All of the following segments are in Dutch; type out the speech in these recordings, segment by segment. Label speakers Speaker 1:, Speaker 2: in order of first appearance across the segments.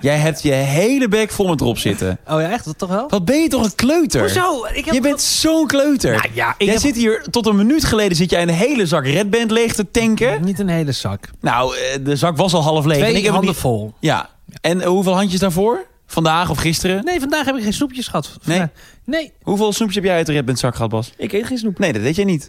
Speaker 1: Jij hebt je hele bek vol met erop zitten.
Speaker 2: Oh ja, echt? Dat toch wel?
Speaker 1: Wat ben je toch een kleuter?
Speaker 2: Hoezo? Ik heb
Speaker 1: Je bent zo'n kleuter.
Speaker 2: Nou ja, ik
Speaker 1: jij
Speaker 2: heb-
Speaker 1: zit hier tot een minuut geleden zit jij een hele zak Red Band leeg te tanken.
Speaker 2: niet een hele zak.
Speaker 1: Nou, eh, de zak was al half leeg.
Speaker 2: Twee
Speaker 1: en ik heb hem
Speaker 2: handen
Speaker 1: niet-
Speaker 2: vol.
Speaker 1: Ja. En eh, hoeveel handjes daarvoor? Vandaag of gisteren?
Speaker 2: Nee, vandaag heb ik geen soepjes gehad.
Speaker 1: Nee?
Speaker 2: Vandaag- Nee.
Speaker 1: Hoeveel snoepjes heb jij uit de Red Band zak gehad, Bas?
Speaker 3: Ik eet geen snoep.
Speaker 1: Nee, dat deed jij niet.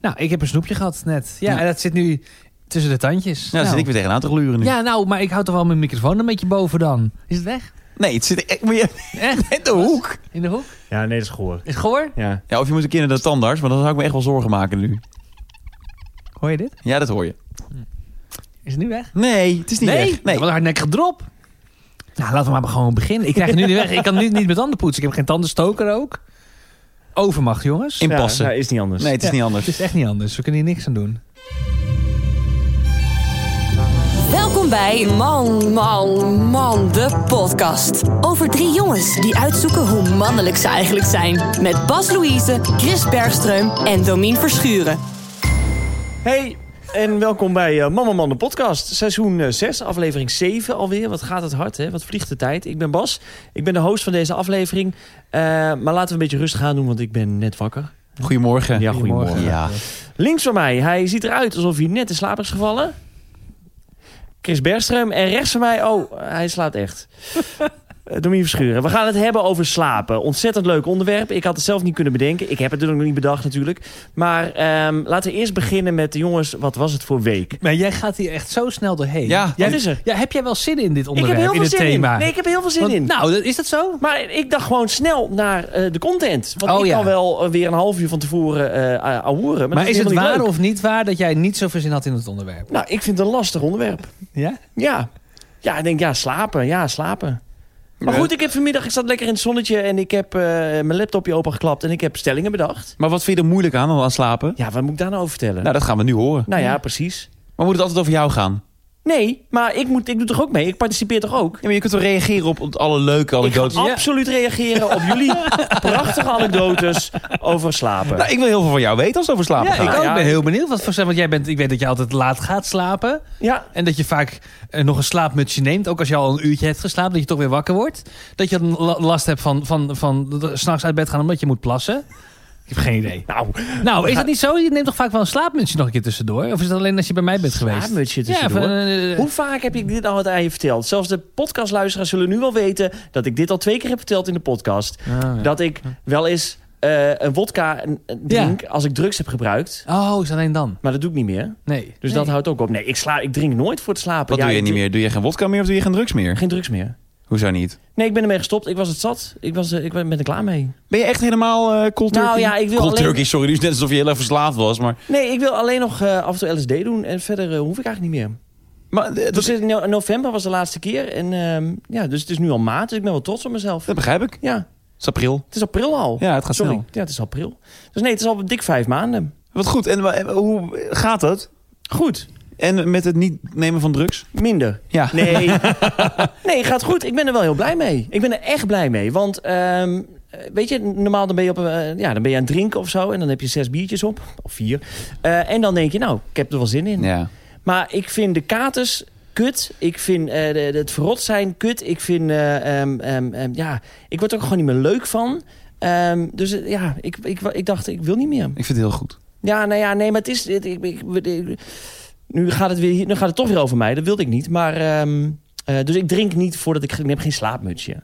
Speaker 2: Nou, ik heb een snoepje gehad net. Ja,
Speaker 1: Ja.
Speaker 2: en dat zit nu tussen de tandjes.
Speaker 1: Nou, dan zit ik weer tegenaan te gluren nu.
Speaker 2: Ja, nou, maar ik hou toch wel mijn microfoon een beetje boven dan. Is het weg?
Speaker 1: Nee, het zit echt maar je-
Speaker 2: Echt?
Speaker 1: in de hoek.
Speaker 2: In de hoek?
Speaker 3: Ja, nee, dat is goor.
Speaker 2: Is het gehoor?
Speaker 3: Ja.
Speaker 1: Ja, of je moet een keer naar de tandarts, maar dan zou ik me echt wel zorgen maken nu.
Speaker 2: Hoor je dit?
Speaker 1: Ja, dat hoor je.
Speaker 2: Is het nu weg?
Speaker 1: Nee, het is niet
Speaker 2: nee?
Speaker 1: echt. Nee.
Speaker 2: Wat een hardnekkig drop. Nou, laten we maar gewoon beginnen. Ik krijg het nu niet weg. Ik kan nu niet met tanden poetsen. Ik heb geen tandenstoker ook. Overmacht, jongens.
Speaker 1: Inpassen.
Speaker 3: Ja, ja, is niet anders.
Speaker 1: Nee, het is
Speaker 2: Ja,
Speaker 1: niet
Speaker 2: Het
Speaker 1: anders.
Speaker 2: is echt niet anders. We kunnen hier niks aan doen.
Speaker 4: Welkom bij Man, Man, Man, de podcast. Over drie jongens die uitzoeken hoe mannelijk ze eigenlijk zijn. Met Bas Louise, Chris Bergström en Domien Verschuren.
Speaker 3: Hey, en welkom bij eh, Mama Man de podcast. Seizoen 6, aflevering 7 alweer. Wat gaat het hard, hè? Wat vliegt de tijd. Ik ben Bas, ik ben de host van deze aflevering. Eh, maar laten we een beetje rustig aan doen, want ik ben net wakker.
Speaker 1: Goedemorgen.
Speaker 3: Ja, goedemorgen.
Speaker 1: Ja.
Speaker 3: Links van mij, hij ziet eruit alsof hij net in slaap is gevallen. Chris Bergström. En rechts van mij, oh, hij slaapt echt. Eh, Domien Verschuren. We gaan het hebben over slapen. Ontzettend leuk onderwerp. Ik had het zelf niet kunnen bedenken. Ik heb het natuurlijk nog niet bedacht natuurlijk. Maar ehm, laten we eerst beginnen met... jongens, wat was het voor week?
Speaker 2: Maar jij gaat hier echt zo snel doorheen.
Speaker 1: Ja.
Speaker 2: Jij- dus
Speaker 3: Wat is er?
Speaker 2: Ja, heb jij wel zin in dit
Speaker 3: Ik
Speaker 2: onderwerp?
Speaker 3: heb heel veel
Speaker 2: in het
Speaker 3: zin
Speaker 2: thema?
Speaker 3: in. Nee, ik heb heel veel zin
Speaker 2: Want-
Speaker 3: in.
Speaker 2: Nou, dat- is dat zo?
Speaker 3: Maar ik dacht gewoon snel naar eh, de content. Want
Speaker 2: Oh,
Speaker 3: ik
Speaker 2: ja.
Speaker 3: kan wel eh, weer een half uur van tevoren eh a- ahoeren.
Speaker 2: Maar,
Speaker 3: Maar, dat
Speaker 2: is
Speaker 3: helemaal
Speaker 2: het
Speaker 3: niet
Speaker 2: waar
Speaker 3: leuk.
Speaker 2: of niet waar dat jij niet zoveel zin had in het onderwerp?
Speaker 3: Nou, ik vind het een lastig onderwerp.
Speaker 2: Ja?
Speaker 3: Ja. Ja, ik denk, ja, slapen. Ja, slapen. Maar
Speaker 1: Ja.
Speaker 3: goed, ik heb vanmiddag, ik zat lekker in het zonnetje en ik heb eh, mijn laptopje opengeklapt en ik heb stellingen bedacht.
Speaker 1: Maar wat vind je er moeilijk aan dan aan slapen?
Speaker 3: Ja, wat moet ik daar nou over vertellen?
Speaker 1: Nou,
Speaker 3: Nou,
Speaker 1: dat gaan we nu horen.
Speaker 3: ja, precies.
Speaker 1: Maar moet het altijd over jou gaan?
Speaker 3: Nee, maar ik, moet, ik doe toch ook mee? Ik participeer toch ook?
Speaker 1: Ja, maar je kunt toch reageren op, op alle leuke
Speaker 3: Ik ga
Speaker 1: anekdotes? Ja.
Speaker 3: absoluut reageren op jullie prachtige anekdotes over slapen.
Speaker 1: Nou, ik wil heel veel van jou weten als het over slapen
Speaker 2: Ja,
Speaker 1: gaat.
Speaker 2: ik
Speaker 3: gaan.
Speaker 2: ook.
Speaker 3: Ja.
Speaker 2: ben heel benieuwd. Wat voor, want jij bent, ik weet dat je altijd laat gaat slapen.
Speaker 3: ja,
Speaker 2: En dat je vaak eh, nog een slaapmutsje neemt. Ook als je al een uurtje hebt geslapen, dat je toch weer wakker wordt. Dat je dan la- last hebt van, van, van, van s'nachts uit bed gaan omdat je moet plassen. Ik heb geen idee.
Speaker 3: nou,
Speaker 2: Nou, is dat niet zo? Je neemt toch vaak wel een slaapmutsje nog een keer tussendoor? Of is dat alleen als je bij mij bent geweest?
Speaker 3: slaapmutsje
Speaker 2: Ja,
Speaker 3: tussendoor.
Speaker 2: van, eh,
Speaker 3: Hoe vaak heb ik dit al aan je verteld? Zelfs de podcastluisteraars zullen nu wel weten dat ik dit al twee keer heb verteld in de podcast.
Speaker 2: Ah, ja.
Speaker 3: dat ik wel eens eh, een wodka eh, drink als ik drugs heb gebruikt.
Speaker 2: Oh, is dat alleen dan?
Speaker 3: Maar dat doe ik niet meer.
Speaker 2: Nee.
Speaker 3: Dus
Speaker 2: Nee.
Speaker 3: dat houdt ook op. Nee, ik, sla, ik drink nooit voor het slapen.
Speaker 1: Wat
Speaker 3: Ja,
Speaker 1: doe je
Speaker 3: ik
Speaker 1: niet
Speaker 3: drink
Speaker 1: meer? Doe je geen wodka meer of doe je geen drugs meer?
Speaker 3: Geen drugs meer.
Speaker 1: Hoezo niet?
Speaker 3: Nee, ik ben ermee gestopt. Ik was het zat. Ik, was, eh, ik ben ben er klaar mee.
Speaker 1: Ben je echt helemaal eh cold
Speaker 3: Nou
Speaker 1: turkey?
Speaker 3: ja, ik wil
Speaker 1: cold
Speaker 3: alleen-
Speaker 1: turkey, sorry. Dus net alsof je heel erg verslaafd was. Maar,
Speaker 3: Nee, ik wil alleen nog eh, af en toe LSD doen. En verder eh, hoef ik eigenlijk niet meer.
Speaker 1: maar eh, dat,
Speaker 3: Dus in no- november was de laatste keer. En ehm, ja, dus het is nu al maart. Dus ik ben wel trots op mezelf.
Speaker 1: dat begrijp ik.
Speaker 3: Ja,
Speaker 1: Het is april.
Speaker 3: het is april al.
Speaker 1: Ja, het gaat
Speaker 3: Sorry.
Speaker 1: snel.
Speaker 3: Ja, het is april. Dus nee, het is al dik vijf maanden.
Speaker 1: Wat goed. En wa- en hoe gaat dat?
Speaker 3: Goed.
Speaker 1: En met het niet nemen van drugs?
Speaker 3: Minder.
Speaker 1: Ja.
Speaker 3: Nee. nee, gaat goed. Ik ben er wel heel blij mee. Ik ben er echt blij mee. Want ehm, eh, weet je, normaal dan ben je, op, een, eh, ja, dan ben je aan het drinken of zo. En dan heb je zes biertjes op. Of vier. Eh, en dan denk je, nou, ik heb er wel zin in.
Speaker 1: Ja.
Speaker 3: Maar ik vind de katers kut. Ik vind eh, de- de- het verrot zijn kut. Ik vind, eh, ehm, ehm, ehm, ja, ik word er ook gewoon niet meer leuk van. Ehm, dus eh, ja, ik, ik, ik dacht, ik wil niet meer.
Speaker 1: Ik vind het heel goed.
Speaker 3: Ja, nou ja, nee, maar het is... het- ik, ik, ik- nu, gaat het weer, hier- nu gaat het toch weer over mij. Dat wilde ik niet. Maar, ehm, eh, dus ik drink niet voordat ik... Ik heb geen slaapmutsje.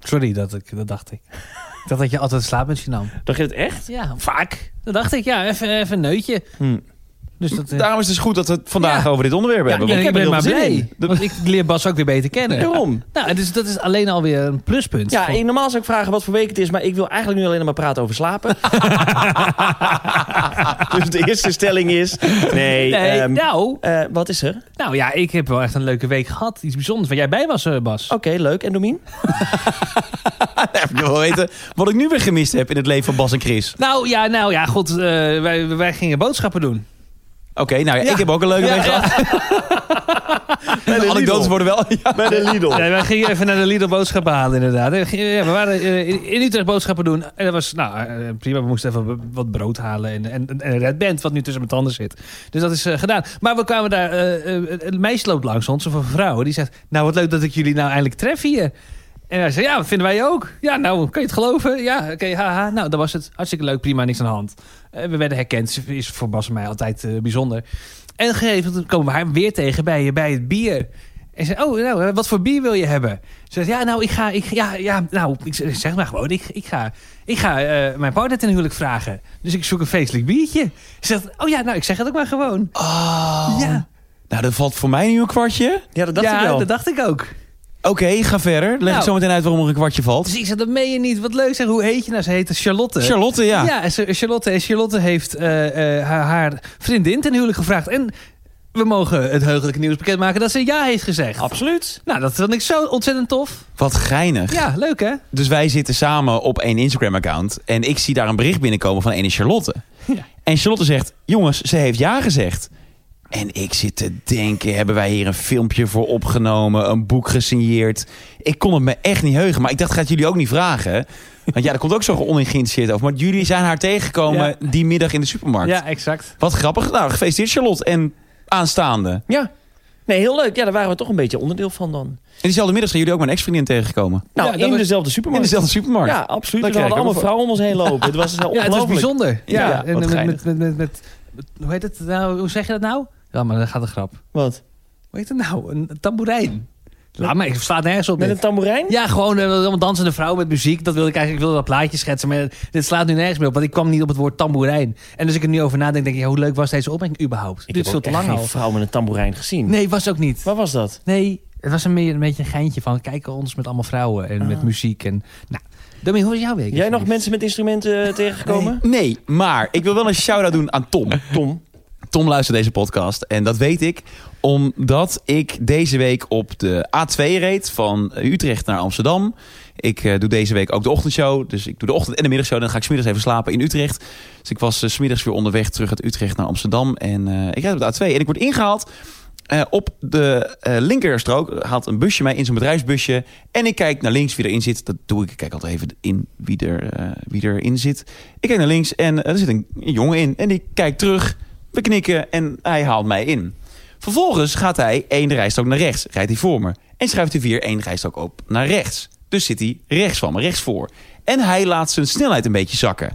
Speaker 2: Sorry, dat, ik, dat dacht ik. ik dacht dat je altijd een slaapmutsje nam.
Speaker 3: Dacht je het echt?
Speaker 2: Ja,
Speaker 3: Vaak.
Speaker 2: dat dacht ik. Ja, even, even een neutje.
Speaker 3: Hm.
Speaker 2: Dus dat, eh,
Speaker 1: Daarom is het dus goed dat we het vandaag
Speaker 2: Ja.
Speaker 1: over dit onderwerp
Speaker 2: ja,
Speaker 1: hebben.
Speaker 2: ik,
Speaker 3: heb er
Speaker 2: ben
Speaker 3: heel
Speaker 2: maar
Speaker 3: veel zin
Speaker 2: blij. Want ik leer Bas ook weer beter kennen.
Speaker 3: Daarom.
Speaker 2: Nou, en dus dat is alleen alweer een pluspunt.
Speaker 3: Ja,
Speaker 2: Van-
Speaker 3: en normaal zou ik vragen wat voor week het is, maar ik wil eigenlijk nu alleen maar praten over slapen. dus de eerste stelling is...
Speaker 2: nee,
Speaker 3: Nee, ehm,
Speaker 2: nou,
Speaker 3: eh, wat is er? Oké,
Speaker 2: nou ja, ik heb wel echt een leuke week gehad. Iets bijzonders waar jij bij was, eh, Bas.
Speaker 3: leuk. En Domien?
Speaker 1: Ik wil weten wat ik nu weer gemist heb in het leven van Bas en Chris.
Speaker 2: Nou ja, nou ja, goed. eh, wij, wij gingen boodschappen doen.
Speaker 1: nou ja,
Speaker 2: Ja.
Speaker 1: ik heb ook een leuke
Speaker 2: Ja,
Speaker 1: week
Speaker 2: ja.
Speaker 1: gehad.
Speaker 3: Bij
Speaker 1: De
Speaker 3: de
Speaker 1: anekdotes
Speaker 3: Lidl.
Speaker 1: worden wel... Ja.
Speaker 3: Bij de Lidl.
Speaker 2: Nee, wij gingen even naar de Lidl boodschappen halen, inderdaad. En we gingen- Ja, we waren eh, in- in Utrecht boodschappen doen. En dat was, nou, eh, prima. We moesten even b- wat brood halen en, en, en een Red Band, wat nu tussen mijn tanden zit. Dus dat is eh, gedaan. Maar we kwamen daar, eh, eh, een meisje loopt langs ons, of een vrouw. Die zegt, nou, wat leuk dat ik jullie nou eindelijk tref hier. En hij zei, ja, dat vinden wij ook. Ja, nou, kan je het geloven? Ja, oké, haha. Nou, dat was het. Hartstikke leuk, prima, niks aan de hand. Eh, we werden herkend, Ze is voor Bas en mij altijd eh, bijzonder. En op een gegeven moment komen we haar weer tegen bij, bij het bier. En zei, oh, nou, eh, wat voor bier wil je hebben? Ze zegt, ja, nou, ik ga, ik, ja, ja, nou, ik zeg zeg maar gewoon, ik, ik ga, ik ga eh, mijn partner ten huwelijk vragen. Dus ik zoek een feestelijk biertje. Ze zegt, oh ja, nou, ik zeg het ook maar gewoon.
Speaker 1: Oh.
Speaker 2: Ja.
Speaker 1: Nou, dat valt voor mij nu een kwartje.
Speaker 3: Ja, dat dacht
Speaker 2: ja,
Speaker 3: ik wel.
Speaker 2: dat dacht ik ook.
Speaker 1: Oké, ga verder. Leg
Speaker 2: Nou.
Speaker 1: ik zo meteen uit waarom er een kwartje valt.
Speaker 2: Dus ik zeg, dat meen je niet. Wat leuk zeg, hoe heet je nou? Ze heette Charlotte.
Speaker 1: Charlotte, ja.
Speaker 2: Ja, en ze- Charlotte, en Charlotte heeft eh, eh, haar, haar vriendin ten huwelijk gevraagd. En we mogen het heugelijke nieuws bekendmaken dat ze ja heeft gezegd.
Speaker 3: Absoluut.
Speaker 2: Nou, dat vond ik zo ontzettend tof.
Speaker 1: Wat geinig.
Speaker 2: Ja, leuk hè?
Speaker 1: Dus wij zitten samen op één Instagram-account. En ik zie daar een bericht binnenkomen van ene Charlotte.
Speaker 2: Ja.
Speaker 1: En Charlotte zegt, jongens, ze heeft ja gezegd. En ik zit te denken, hebben wij hier een filmpje voor opgenomen? Een boek gesigneerd? Ik kon het me echt niet heugen. Maar ik dacht, gaat jullie ook niet vragen? hè? Want ja, daar komt ook zo oningeïnteresseerd over. Maar jullie zijn haar tegengekomen die middag in de supermarkt.
Speaker 2: Ja, exact.
Speaker 1: Wat grappig. Nou, gefeliciteerd Charlotte. En aanstaande. En
Speaker 3: Ja. Nee, heel leuk. Ja, daar waren we toch een beetje onderdeel van dan.
Speaker 1: diezelfde middag zijn jullie ook mijn ex-vriendin tegengekomen.
Speaker 2: Ja,
Speaker 3: Nou,
Speaker 2: dat
Speaker 3: in
Speaker 2: was-
Speaker 3: dezelfde
Speaker 1: In
Speaker 3: supermarkt.
Speaker 1: dezelfde supermarkt.
Speaker 3: Ja, absoluut.
Speaker 1: Dat
Speaker 3: Er hadden
Speaker 1: krijg ik
Speaker 3: allemaal
Speaker 1: ook wel
Speaker 3: vrouwen om ons heen lopen. Het was dus
Speaker 2: Ja, het was
Speaker 3: ongelooflijk.
Speaker 2: bijzonder. Ja,
Speaker 1: Ja,
Speaker 2: en
Speaker 1: wat
Speaker 2: met,
Speaker 1: geinig.
Speaker 2: met, met, met, met- hoe heet het nou? Hoe zeg je dat nou? Ja, maar dan gaat de grap.
Speaker 3: Wat?
Speaker 2: Hoe heet het nou? Een tamboerijn. Laat maar, ik sla het nergens op.
Speaker 3: Met
Speaker 2: dit.
Speaker 3: een tamboerijn?
Speaker 2: Ja, gewoon eh, allemaal dansende vrouwen met muziek. Dat wilde ik eigenlijk, ik wilde dat plaatje schetsen. Maar dit slaat nu nergens meer op, want ik kwam niet op het woord tamboerijn. En als ik er nu over nadenk, denk ik, ja, hoe leuk was deze opmerking überhaupt?
Speaker 3: Ik
Speaker 2: Dit
Speaker 3: heb
Speaker 2: is veel
Speaker 3: ook
Speaker 2: te
Speaker 3: echt
Speaker 2: lang
Speaker 3: geen
Speaker 2: al.
Speaker 3: vrouw met een tamboerijn gezien.
Speaker 2: Nee, was ook niet.
Speaker 3: Waar was dat?
Speaker 2: Nee, het was een, meer- een beetje een geintje van, kijk ons met allemaal vrouwen en met muziek. En, nou, Domien, hoe is jouw week?
Speaker 3: Jij nog mensen met instrumenten eh, tegengekomen?
Speaker 1: Nee, maar ik wil wel een shout-out doen aan Tom.
Speaker 3: Tom.
Speaker 1: Tom luistert deze podcast. En dat weet ik omdat ik deze week op de A2 reed van Utrecht naar Amsterdam. Ik eh, doe deze week ook de ochtendshow. Dus ik doe de ochtend- en de middagshow. Dan ga ik smiddags even slapen in Utrecht. Dus ik was eh, 's smiddags weer onderweg terug uit Utrecht naar Amsterdam. En eh, ik rijd op de A2 en ik word ingehaald. eh, op de eh, linkerstrook haalt een busje mij in zo'n bedrijfsbusje. En ik kijk naar links wie erin zit. Dat doe ik. Ik kijk altijd even in wie, er, eh wie erin zit. Ik kijk naar links en eh, er zit een een jongen in. En die kijkt terug. We knikken en hij haalt mij in. Vervolgens gaat hij één rijstrook naar rechts. Rijdt hij voor me. En schuift hij weer één rijstrook op naar rechts. Dus zit hij rechts van me, rechts voor. En hij laat zijn snelheid een beetje zakken. Ik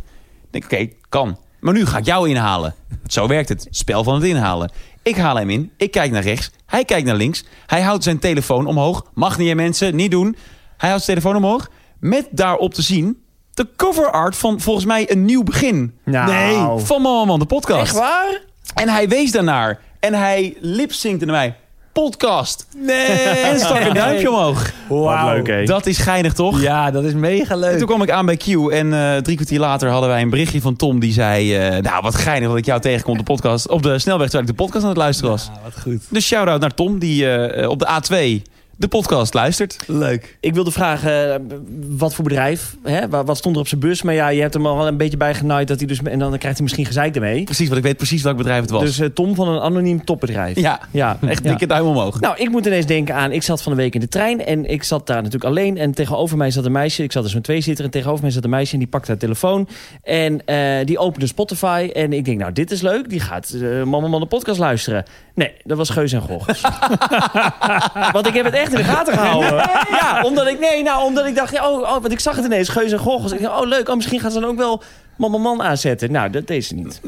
Speaker 1: denk, oké, kan. Maar nu ga ik jou inhalen. Zo werkt het. Spel van het inhalen. Ik haal hem in. Ik kijk naar rechts. Hij kijkt naar links. Hij houdt zijn telefoon omhoog. Mag niet, hè, mensen. Niet doen. Hij houdt zijn telefoon omhoog. Met daarop te zien de cover art van volgens mij een nieuw begin.
Speaker 3: Nou.
Speaker 1: Nee, van Man, Man, Man, de podcast.
Speaker 3: Echt waar?
Speaker 1: En hij wees daarnaar. En hij lipsynkte naar mij. Podcast. Nee. En stak een duimpje omhoog.
Speaker 3: Wat leuk, hè?
Speaker 1: Dat is geinig, toch?
Speaker 2: Ja, dat is mega
Speaker 1: En
Speaker 2: leuk.
Speaker 1: toen kwam ik aan bij Q. En eh, drie kwartier later hadden wij een berichtje van Tom. Die zei, eh, nou wat geinig dat ik jou tegenkom op de, podcast, op de snelweg. Terwijl ik de podcast aan het luisteren was.
Speaker 2: Ja, wat goed.
Speaker 1: Dus shout-out naar Tom die eh, op de A2 de podcast luistert.
Speaker 2: Leuk.
Speaker 3: Ik wilde vragen, eh, wat voor bedrijf? Hè? Wa- Wat stond er op zijn bus? Maar ja, je hebt hem al wel een beetje bij genaaid. Dat hij dus, en dan krijgt hij misschien gezeik ermee.
Speaker 1: Precies, want ik weet precies welk bedrijf het was.
Speaker 3: Dus eh, Tom van een anoniem topbedrijf.
Speaker 1: ja,
Speaker 3: Ja,
Speaker 1: echt
Speaker 3: ja.
Speaker 1: dikke duim omhoog.
Speaker 3: Nou, ik moet ineens denken aan... Ik zat van de week in de trein en ik zat daar natuurlijk alleen. En tegenover mij zat een meisje. Ik zat dus zo'n tweezitter en tegenover mij zat een meisje. En die pakte haar telefoon en eh, die opende Spotify. En ik denk, nou, dit is leuk. Die gaat eh Mama Man de podcast luisteren. Nee, dat was Geus en Goggers. want ik heb het echt in de gaten gehouden. Ja, omdat ik... Nee, nou, omdat ik dacht... ja, Oh, oh, want ik zag het ineens. Geus en Goggers. Ik dacht, oh, leuk. Oh, misschien gaan ze dan ook wel Mama Man aanzetten. Nou, dat deed ze niet.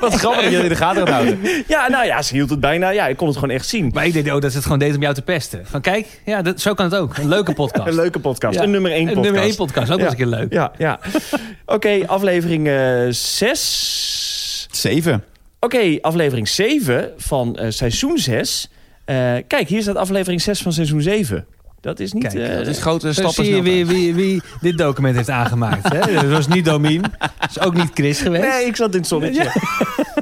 Speaker 1: wat grappig dat jullie in de gaten gaan houden.
Speaker 3: Ja, nou ja, ze hield het bijna... Ja, ik kon het gewoon echt zien.
Speaker 2: Maar ik denk ook dat ze het gewoon deed om jou te pesten. Van kijk, ja, dat, zo kan het ook. Een leuke podcast.
Speaker 3: Een leuke podcast.
Speaker 2: Ja.
Speaker 3: Een nummer één
Speaker 2: Een
Speaker 3: podcast.
Speaker 2: nummer 1 podcast, ook wel eens
Speaker 3: Ja.
Speaker 2: een keer leuk.
Speaker 3: Ja, ja. Oké, aflevering 6.
Speaker 1: Zeven.
Speaker 3: Oké, aflevering 7 van eh, seizoen 6. kijk, hier staat aflevering 6 van seizoen 7. Dat is niet...
Speaker 2: Kijk,
Speaker 3: eh,
Speaker 1: Dat is grote
Speaker 2: Zo
Speaker 1: stappen.
Speaker 2: zie je
Speaker 1: snelheid.
Speaker 2: weer wie, wie dit document heeft aangemaakt. Hè? Dat was niet Domien. Dat is ook niet Chris geweest.
Speaker 3: Nee, ik zat in het zonnetje.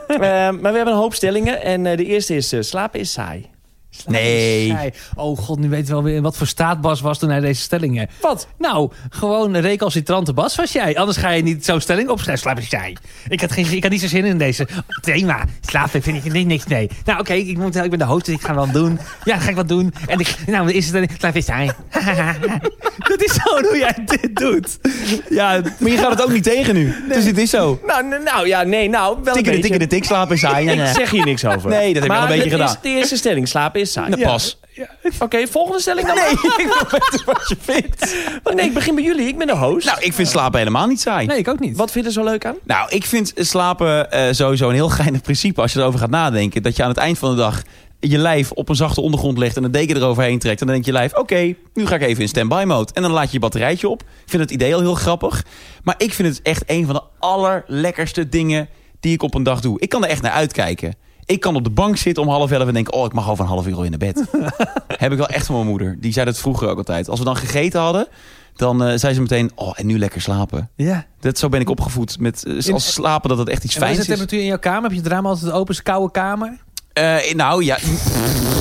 Speaker 3: Eh, maar we hebben een hoop stellingen. En eh, de eerste is eh, slapen is saai.
Speaker 2: Slaap is
Speaker 1: Nee.
Speaker 2: saai. Oh god, nu weet je wel weer in wat voor staat Bas was toen hij deze stelling... eh,
Speaker 3: Wat?
Speaker 2: Nou, gewoon een recalcitrante Bas was jij. Anders ga je niet zo'n stelling opschrijven. Slaap is saai. Ik had, geen, ik had niet zo zin in deze thema. Slapen vind ik nee, niks, nee. Nou oké, ik ik, ik ben de host, dus ik ga wel doen. Ja, ga ik wat doen. En ik, nou, is het een... Slaap is saai. Dat is gewoon hoe jij dit doet.
Speaker 1: Ja, maar je gaat het ook niet tegen nu. Dus het is zo.
Speaker 3: Nou, n- nou ja, nee, nou, wel
Speaker 1: Tikken de
Speaker 3: een
Speaker 1: tikken de
Speaker 3: beetje.
Speaker 1: tik, slapen is saai.
Speaker 3: Ik zeg hier niks over.
Speaker 1: Nee, dat heb je
Speaker 3: maar
Speaker 1: al een beetje
Speaker 3: het is
Speaker 1: gedaan.
Speaker 3: de eerste stelling, slapen is saai.
Speaker 1: Nou,
Speaker 3: Ja.
Speaker 1: Pas.
Speaker 3: Oké, volgende stelling dan.
Speaker 1: Nee, ik wil weten wat je vindt.
Speaker 3: maar. Nee, ik begin bij jullie, ik ben de host.
Speaker 1: Nou, ik vind slapen helemaal niet saai.
Speaker 2: Nee, ik ook niet.
Speaker 3: Wat vind je er zo leuk aan?
Speaker 1: Nou, ik vind slapen eh, sowieso een heel geinig principe als je erover gaat nadenken. Dat je aan het eind van de dag je lijf op een zachte ondergrond legt en een deken eroverheen trekt. En dan denkt je lijf, oké, nu ga ik even in standby mode. En dan laat je je batterijtje op. Ik vind het idee al heel grappig. Maar ik vind het echt een van de allerlekkerste dingen die ik op een dag doe. Ik kan er echt naar uitkijken. Ik kan op de bank zitten om half elf en denken... oh, ik mag over een half uur al in naar bed. Heb ik wel echt van mijn moeder. Die zei dat vroeger ook altijd. Als we dan gegeten hadden, dan eh, zei ze meteen... oh, en nu lekker slapen.
Speaker 2: Ja.
Speaker 1: Dat, zo ben ik opgevoed. Met, eh,
Speaker 2: In-
Speaker 1: als slapen dat het echt iets
Speaker 2: En wat is
Speaker 1: fijns
Speaker 2: de
Speaker 1: is.
Speaker 2: temperatuur in jouw kamer? Heb je het raam altijd open? Is het een koude kamer?
Speaker 1: Eh, nou ja,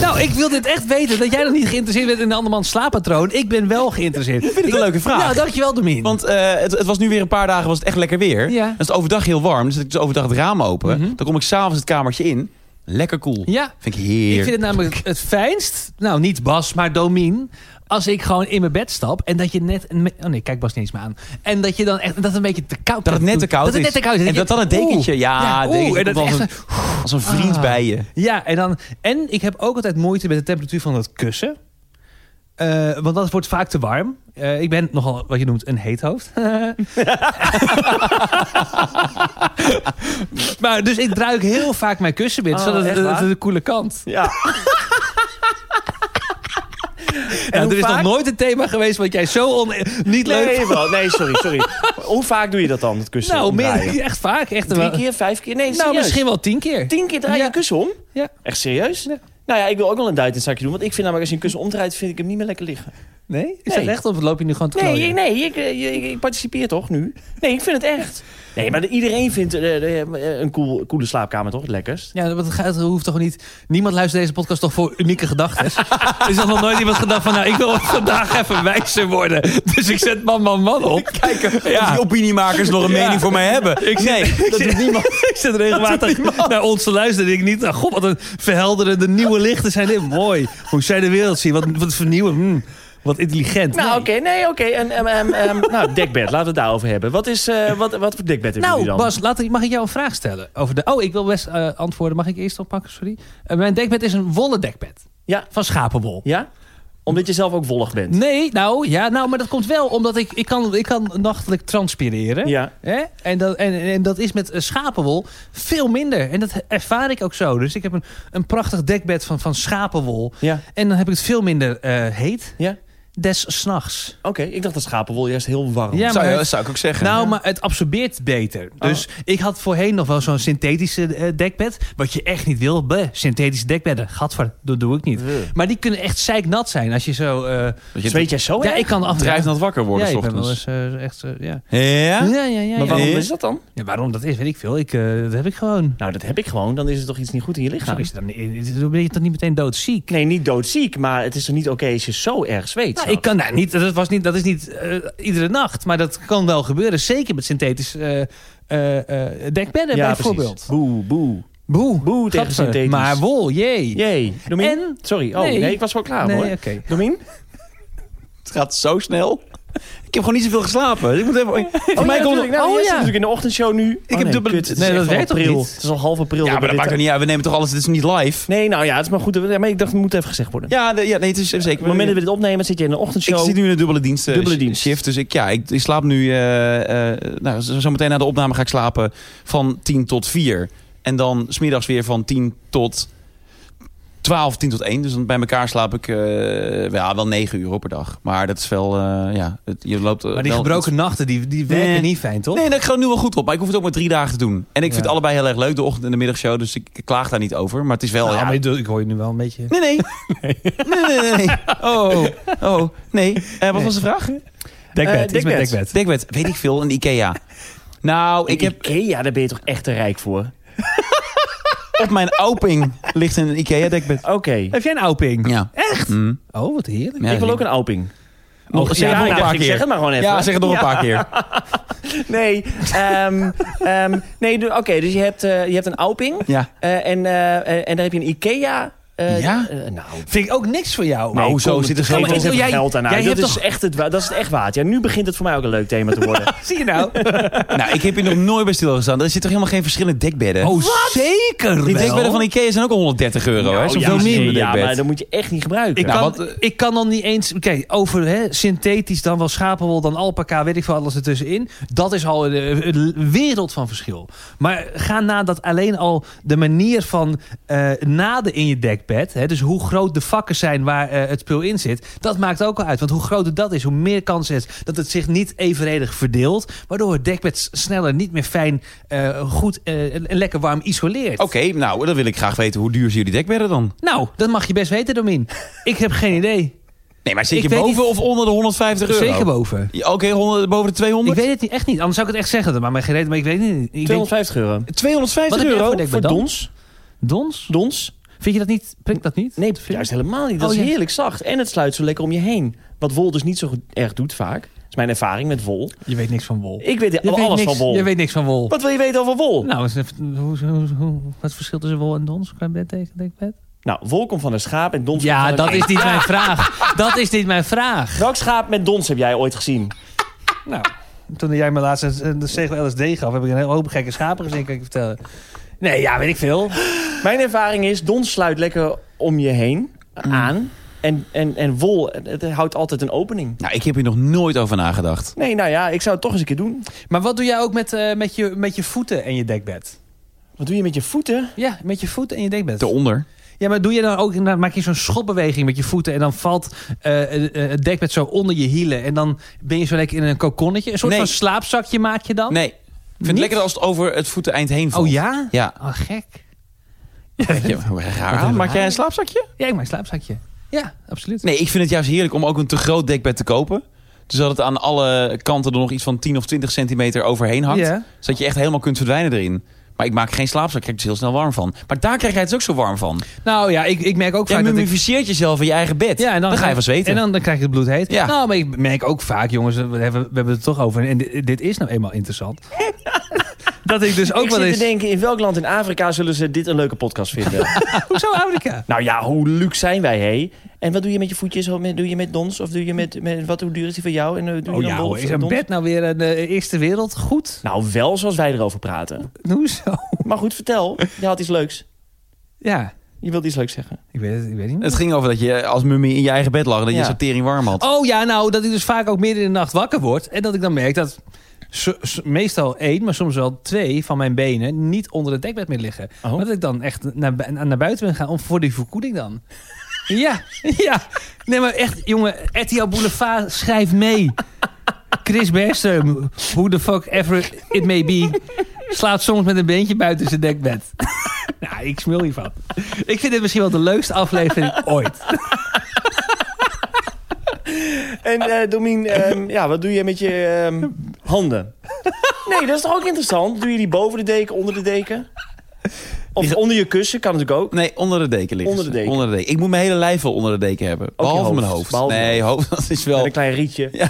Speaker 2: Nou, ik wil dit echt weten. Dat jij nog niet geïnteresseerd bent in een andermans slaappatroon. Ik ben wel geïnteresseerd.
Speaker 1: vind het een leuke vraag.
Speaker 2: Nou, dankjewel Domien.
Speaker 1: want eh, het, het was nu weer een paar dagen was het echt lekker weer.
Speaker 2: Ja.
Speaker 1: Dan is het overdag heel warm. Dan zet ik dus overdag het raam open.
Speaker 2: Mhm.
Speaker 1: Dan kom ik s'avonds het kamertje in. Lekker koel.
Speaker 2: ja,
Speaker 1: Vind ik
Speaker 2: ik
Speaker 1: heerlijk.
Speaker 2: vind het namelijk het fijnst. Nou, niet Bas, maar Domien. Als ik gewoon in mijn bed stap en dat je net... een me- Oh nee, kijk Bas niet eens meer aan. En dat je dan echt... Dat het een beetje te koud
Speaker 1: Dat het net te koud
Speaker 2: Dat het
Speaker 1: is.
Speaker 2: net te koud is.
Speaker 1: En dat dan een
Speaker 2: je-
Speaker 1: dekentje. ja,
Speaker 2: Ja,
Speaker 1: een
Speaker 2: oeh,
Speaker 1: dekentje
Speaker 2: en dat
Speaker 1: komt
Speaker 2: is
Speaker 1: als, een, als een vriend
Speaker 2: Ah.
Speaker 1: bij je.
Speaker 2: Ja, en, dan, en ik heb ook altijd moeite met de temperatuur van dat kussen. Eh, want dat wordt vaak te warm. Eh, ik ben nogal wat je noemt een heethoofd. maar dus ik druik heel vaak mijn kussen binnen,
Speaker 3: Oh,
Speaker 2: zodat
Speaker 3: echt
Speaker 2: het, het-
Speaker 3: waar?
Speaker 2: het de koele kant.
Speaker 3: Ja.
Speaker 2: Nou,
Speaker 3: hoe
Speaker 2: er is
Speaker 3: vaak?
Speaker 2: nog nooit een thema geweest wat jij zo on- niet leuk
Speaker 3: Nee, wel. nee, sorry, sorry. Hoe vaak doe je dat dan, het kussen
Speaker 2: Nou,
Speaker 3: omdraaien?
Speaker 2: meer, echt vaak. Echt
Speaker 3: Drie
Speaker 2: wel.
Speaker 3: keer, vijf keer? Nee,
Speaker 2: nou,
Speaker 3: serieus.
Speaker 2: misschien wel tien keer.
Speaker 3: Tien keer draai je
Speaker 2: Ja.
Speaker 3: een kussen om?
Speaker 2: Ja.
Speaker 3: Echt serieus?
Speaker 2: Ja.
Speaker 3: Nou ja, ik wil ook wel een duit in het zakje doen. Want ik vind namelijk als je een kussen omdraait, vind ik hem niet meer lekker liggen.
Speaker 2: Nee? Is
Speaker 3: Nee.
Speaker 2: dat echt of loop je nu gewoon te
Speaker 3: Nee,
Speaker 2: klooien?
Speaker 3: nee ik, eh, ik, ik participeer toch nu? Nee, ik vind het echt. Nee, maar iedereen vindt eh, eh, eh, een cool, coole slaapkamer toch het lekkerst?
Speaker 2: Ja, want het gaat- het hoeft toch niet... Niemand luistert deze podcast toch voor unieke gedachten? Er is toch nog nooit iemand gedacht van... nou, ik wil vandaag even wijzer worden. Dus ik zet man, man, man op. Kijk,
Speaker 1: Of die opiniemakers nog een
Speaker 2: Ja.
Speaker 1: mening voor mij hebben. Ik nee, dat doet niemand.
Speaker 2: ik zit regelmatig naar ons te luisteren. En ik niet, nou, god, wat een verhelderende nieuwe lichten zijn dit. Mooi. Hoe zij de wereld zien. Wat, wat vernieuwen. Hmm, wat intelligent.
Speaker 3: Nou,
Speaker 2: Nee.
Speaker 3: oké, nee, oké. En ehm, ehm, ehm, nou, dekbed, laten we het daarover hebben. Wat, is, eh, wat, wat voor dekbed hebben jullie
Speaker 2: Nou,
Speaker 3: dan?
Speaker 2: Bas, laat ik, mag ik jou een vraag stellen? Over de, oh, ik wil best eh, antwoorden. Mag ik eerst oppakken? Sorry. Eh, mijn dekbed is een wollen dekbed.
Speaker 3: Ja.
Speaker 2: Van schapenwol.
Speaker 3: Ja? Omdat je zelf ook wollig bent.
Speaker 2: Nee, nou, ja, nou, maar dat komt wel omdat ik, ik, kan, ik kan nachtelijk transpireren.
Speaker 3: Ja.
Speaker 2: Hè? En, dat, en, en dat is met eh, schapenwol veel minder. En dat ervaar ik ook zo. Dus ik heb een, een prachtig dekbed van, van schapenwol.
Speaker 3: Ja.
Speaker 2: En dan heb ik het veel minder eh, heet.
Speaker 3: Ja?
Speaker 2: Des s'nachts.
Speaker 3: Oké, ik dacht dat schapenwol juist heel warm.
Speaker 2: Ja,
Speaker 1: Oh. zou,
Speaker 2: maar-
Speaker 1: je- Oh. zou ik ook zeggen.
Speaker 2: Nou, maar het absorbeert beter. Dus ik had voorheen nog wel zo'n synthetische eh, dekbed. Wat je echt niet wil. Bleh, synthetische dekbedden. Gadver, dat doe ik niet.
Speaker 3: Bleh.
Speaker 2: Maar die kunnen echt zeiknat zijn als je zo... eh,
Speaker 1: dat je
Speaker 3: Zweet jij zo?
Speaker 2: ja,
Speaker 3: erg?
Speaker 2: ik kan af
Speaker 1: drijfnat wakker worden
Speaker 2: Ja,
Speaker 1: s
Speaker 2: ik ben wel
Speaker 1: ochtends.
Speaker 2: eens eh, echt... eh, ja.
Speaker 1: Ja?
Speaker 2: Ja, ja, ja. ja.
Speaker 3: Maar waarom
Speaker 1: Eh?
Speaker 3: is dat dan?
Speaker 2: Ja, waarom dat is, weet ik veel. Ik, eh, dat heb ik gewoon.
Speaker 3: Nou, dat heb ik gewoon. Dan is er toch iets niet goed in je lichaam.
Speaker 2: Zo Nou, is het dan, niet- dan ben je toch niet meteen doodziek?
Speaker 3: Nee, niet doodziek, maar het is toch niet oké als je zo erg zweet?
Speaker 2: Nou,
Speaker 3: s'nachts?
Speaker 2: ik kan nou, niet, dat, was niet, dat is niet eh, iedere nacht, maar dat kan wel gebeuren. Zeker met synthetisch eh, eh, eh, dekbedden
Speaker 3: ja,
Speaker 2: bijvoorbeeld.
Speaker 3: precies. Boe, boe.
Speaker 2: Boe,
Speaker 3: Boe tegen
Speaker 2: gadver.
Speaker 3: synthetisch.
Speaker 2: Maar wol, jee.
Speaker 3: Jee. Domien?
Speaker 2: En-
Speaker 3: Sorry. Oh, nee.
Speaker 2: Nee.
Speaker 3: ik was wel klaar
Speaker 2: nee,
Speaker 3: hoor.
Speaker 2: oké. Oh,
Speaker 3: Domien?
Speaker 1: Het gaat zo snel. Ik heb gewoon niet zoveel geslapen. Dus Ik moet even... Voor mij komt
Speaker 3: natuurlijk. Nou,
Speaker 2: oh,
Speaker 3: jij
Speaker 2: ja.
Speaker 3: zit natuurlijk in de ochtendshow nu. Oh, Ik
Speaker 1: heb dubbele-
Speaker 2: Nee, dat werkt toch
Speaker 3: april.
Speaker 2: niet?
Speaker 3: Het is al half april.
Speaker 1: Ja, maar
Speaker 3: we
Speaker 1: dat
Speaker 3: dit- eh,
Speaker 1: maakt er niet uit. We nemen toch alles. Het is niet live.
Speaker 3: Nee, nou ja, het is maar goed. dat we- ja, Maar ik dacht, het moet even gezegd worden.
Speaker 1: Ja, de- ja nee, het is zeker.
Speaker 3: Op het moment dat we dit opnemen, zit je in de
Speaker 1: Ik
Speaker 3: ochtendshow.
Speaker 1: zit nu in een dubbele dienst. eh,
Speaker 3: Dubbele
Speaker 1: sh-
Speaker 3: dienst.
Speaker 1: Shift, dus ik, ja, ik, ik slaap nu... eh, eh, nou, zo- zometeen na de opname ga ik slapen van 10 tot 4. En dan smiddags weer van 10 tot 12, 10 tot 1. Dus dan bij elkaar slaap ik eh, ja, wel 9 uur op per dag. Maar dat is wel... eh, ja, het, je loopt, eh,
Speaker 2: Maar die
Speaker 1: wel-
Speaker 2: gebroken nachten, die, die
Speaker 1: Nee.
Speaker 2: werken niet fijn, toch?
Speaker 1: Nee, dat gaat nu wel goed op. Maar ik hoef het ook maar drie dagen te doen. En ik vind
Speaker 2: Ja.
Speaker 1: het allebei heel erg leuk, de ochtend- en de middagshow. Dus ik klaag daar niet over. Maar het is wel...
Speaker 2: Nou,
Speaker 1: ja,
Speaker 2: maar ik doe- ik hoor je nu wel een beetje...
Speaker 1: Nee, nee. Nee, nee, nee. nee. Oh, oh, nee. Eh, wat was de vraag?
Speaker 2: Dekbed,
Speaker 3: Eh,
Speaker 2: iets met
Speaker 3: dekbed.
Speaker 2: dekbed.
Speaker 1: Dekbed, weet ik veel, een IKEA. Nou, ik heb...
Speaker 3: Ikea, daar ben je toch echt te rijk voor?
Speaker 1: Op mijn Auping ligt een IKEA-dekbed.
Speaker 3: Oké.
Speaker 2: Heb jij een ouping?
Speaker 1: Ja.
Speaker 2: Echt?
Speaker 1: Mm.
Speaker 2: Oh, wat heerlijk.
Speaker 1: Ja,
Speaker 3: ik wil ook een Alping.
Speaker 1: Nog,
Speaker 3: Oh,
Speaker 1: zeg
Speaker 3: ja,
Speaker 1: het nog
Speaker 3: ik
Speaker 1: een
Speaker 3: dacht,
Speaker 1: paar
Speaker 3: ik
Speaker 1: keer.
Speaker 3: Zeg het maar gewoon even.
Speaker 1: ja, zeg het nog een paar keer.
Speaker 3: Nee, ehm, ehm, nee du- oké, dus je hebt, eh, je hebt een Alping
Speaker 1: Ja.
Speaker 3: eh, en, eh, eh, en dan heb je een Ikea. eh,
Speaker 1: Ja?
Speaker 3: eh, nou,
Speaker 2: Vind ik ook niks voor jou.
Speaker 1: Maar
Speaker 3: Nee,
Speaker 1: hoezo?
Speaker 3: kom,
Speaker 1: Zit er
Speaker 3: geef
Speaker 1: geen-
Speaker 3: ons
Speaker 2: Oh,
Speaker 3: even
Speaker 2: jij-
Speaker 3: geld aan
Speaker 2: jij
Speaker 3: uit.
Speaker 2: hebt
Speaker 3: Dat, is
Speaker 2: toch-
Speaker 3: echt het, wa- dat is het echt waard. Ja, nu begint het voor mij ook een leuk thema te worden.
Speaker 2: Zie je nou?
Speaker 1: Nou, ik heb hier nog nooit bij stilgestaan. Er zit toch helemaal geen verschillende dekbedden?
Speaker 2: Oh, zeker wel.
Speaker 1: Die dekbedden van Ikea zijn ook al 130 euro, hè? Zo'n
Speaker 3: Oh, ja,
Speaker 1: veel
Speaker 3: nee,
Speaker 1: meer
Speaker 3: ja, maar
Speaker 1: dekbed.
Speaker 3: dat moet je echt niet gebruiken.
Speaker 2: Ik,
Speaker 1: Nou,
Speaker 2: kan,
Speaker 1: wat, eh,
Speaker 2: ik kan dan niet eens... Kijk, over hè, synthetisch dan wel schapenwol, dan alpaca, weet ik veel, alles ertussenin. Dat is al een, een wereld van verschil. Maar ga na dat alleen al de manier van eh, naden in je dekbed... Hè, dus hoe groot de vakken zijn waar eh, het spul in zit... dat maakt ook al uit. Want hoe groter dat is, hoe meer kans is dat het zich niet evenredig verdeelt... waardoor het dekbed s- sneller niet meer fijn, eh, goed eh, en en lekker warm isoleert.
Speaker 1: Oké, nou, dan wil ik graag weten hoe duur zijn jullie dekbedden dan?
Speaker 2: Nou, dat mag je best weten, Domin. Ik heb geen idee.
Speaker 1: Nee, maar zit
Speaker 2: Ik
Speaker 1: je
Speaker 2: weet
Speaker 1: boven of onder de 150 euro?
Speaker 2: Zeker boven.
Speaker 1: Ja, Oké, 100 boven de 200?
Speaker 2: Ik weet het niet, echt niet. Anders zou ik het echt zeggen. Maar mijn gereden, maar ik weet het niet. Ik denk,
Speaker 3: 250 euro.
Speaker 1: 250
Speaker 2: Wat heb jij
Speaker 1: euro?
Speaker 2: voor dekbed
Speaker 3: Voor
Speaker 2: dan?
Speaker 3: dons?
Speaker 2: dons?
Speaker 3: Dons?
Speaker 2: Vind je dat niet? Prikt dat niet?
Speaker 3: Nee,
Speaker 2: Dat vind ik-
Speaker 3: juist helemaal niet. Dat
Speaker 2: Oh,
Speaker 3: is
Speaker 2: ja.
Speaker 3: heerlijk zacht. En het sluit zo lekker om je heen. Wat wol dus niet zo goed- erg doet vaak. Dat is mijn ervaring met wol.
Speaker 2: Je weet niks van wol.
Speaker 3: Ik weet
Speaker 2: je weet
Speaker 3: alles
Speaker 2: niks,
Speaker 3: van wol.
Speaker 2: Je weet niks Oh, van wol.
Speaker 3: Wat wil je weten over wol?
Speaker 2: Nou, eens even- hoe, hoe, hoe, wat is het verschil tussen wol en dons? Kan je bed tegen dekbed?
Speaker 3: Nou, wol komt van een schaap en dons komt
Speaker 2: Ja,
Speaker 3: van
Speaker 2: dat
Speaker 3: een...
Speaker 2: is niet mijn vraag. Dat is niet mijn vraag.
Speaker 3: Welk schaap met dons heb jij ooit gezien?
Speaker 2: Nou, toen jij me laatst een- een zegel LSD gaf, heb ik een hele hoop gekke schapen gezien, kan ik je vertellen. Nee, ja, weet ik veel.
Speaker 3: Mijn ervaring is, dons sluit lekker om je heen
Speaker 2: Mm.
Speaker 3: aan. En, en, en wol, het houdt altijd een opening.
Speaker 1: Nou, ik heb hier nog nooit over nagedacht.
Speaker 3: Nee, nou ja, ik zou het toch eens een keer doen.
Speaker 2: Maar wat doe jij ook met, eh, met, je, met je voeten en je dekbed?
Speaker 3: Wat doe je met je voeten?
Speaker 2: Ja, met je voeten en je dekbed.
Speaker 1: Eronder.
Speaker 2: Ja, maar doe je dan ook, nou, maak je zo'n schopbeweging met je voeten en dan valt eh, eh, eh, het dekbed zo onder je hielen en dan ben je zo lekker in een kokonnetje. Een soort
Speaker 1: Nee.
Speaker 2: van slaapzakje maak je dan?
Speaker 1: Nee, ik vind het
Speaker 2: Niet?
Speaker 1: lekker als het over het voeteneind heen valt.
Speaker 2: Oh ja?
Speaker 1: Oh. Ja.
Speaker 2: Oh, gek.
Speaker 1: Ja, maar raar.
Speaker 2: Wat een
Speaker 1: Maak jij
Speaker 2: raar.
Speaker 1: een slaapzakje?
Speaker 2: Ja, ik maak een slaapzakje. Ja, absoluut.
Speaker 1: Nee, ik vind het juist heerlijk om ook een te groot dekbed te kopen. Dus dat het aan alle kanten er nog iets van 10 of 20 centimeter overheen hangt.
Speaker 2: Ja.
Speaker 1: Zodat je echt helemaal kunt verdwijnen erin. Maar ik maak geen slaapzak, krijg ik dus heel snel warm van. Maar daar krijg jij het dus ook zo warm van.
Speaker 2: Nou ja, ik, ik merk ook
Speaker 1: Jij
Speaker 2: vaak dat ik...
Speaker 1: mumificeert jezelf in je eigen bed.
Speaker 2: Ja, en dan,
Speaker 1: ga je van zweten.
Speaker 2: En dan, dan krijg je het bloed heet.
Speaker 1: Ja.
Speaker 2: Nou, maar ik merk ook vaak, jongens, we hebben, we hebben het er toch over. En dit, dit is nou eenmaal interessant. dat ik dus ook
Speaker 3: ik
Speaker 2: wel
Speaker 3: zit
Speaker 2: eens...
Speaker 3: te denken, in welk land in Afrika zullen ze dit een leuke podcast vinden?
Speaker 2: Hoezo Afrika?
Speaker 3: nou ja, hoe luxe zijn wij, hé? En wat doe je met je voetjes? Hoe- met- Doe je met dons? Of doe je met... met wat, hoe duur is die van jou? En, eh, doe je
Speaker 2: Oh
Speaker 3: dan
Speaker 2: ja,
Speaker 3: wol
Speaker 2: hoor,
Speaker 3: of
Speaker 2: is een
Speaker 3: dons?
Speaker 2: bed nou weer een eh, eerste wereld? Goed.
Speaker 3: Nou, wel zoals wij erover praten.
Speaker 2: Hoezo?
Speaker 3: Maar goed, vertel. Je had iets leuks.
Speaker 2: Ja.
Speaker 3: Je wilde iets leuks zeggen.
Speaker 2: Ik weet het, ik weet het niet.
Speaker 1: Het ging over dat je als mummie in je eigen bed lag. en Dat je
Speaker 3: Ja.
Speaker 1: je sortering warm had.
Speaker 2: Oh ja, nou dat ik dus vaak ook midden in de nacht wakker word. En dat ik dan merk dat so- so- meestal één, maar soms wel twee van mijn benen niet onder het dekbed meer liggen.
Speaker 3: Oh.
Speaker 2: Maar Dat ik dan echt naar, bu- naar buiten ben gaan om voor die verkoeling dan. ja, ja. Nee, maar echt, jongen, RTL Boulevard, schrijf mee. Chris Bergström, who the fuck ever it may be, slaat soms met een beentje buiten zijn dekbed. nou, ik smul hiervan. Ik vind dit misschien wel de leukste aflevering ooit.
Speaker 3: En eh Domien, ehm, ja, wat doe je met je ehm, handen? Nee, dat is toch ook interessant? Doe je die boven de deken, onder de deken? Of onder je kussen, kan natuurlijk ook.
Speaker 1: Nee, onder de deken liggen.
Speaker 3: Onder de
Speaker 1: ze.
Speaker 3: deken.
Speaker 1: Onder de deken. Ik moet mijn hele lijf wel onder de deken hebben.
Speaker 3: je
Speaker 1: Behalve
Speaker 3: hoofd.
Speaker 1: mijn hoofd.
Speaker 3: Behalve
Speaker 1: nee, hoofd, dat is
Speaker 3: Met
Speaker 1: wel...
Speaker 3: een klein rietje.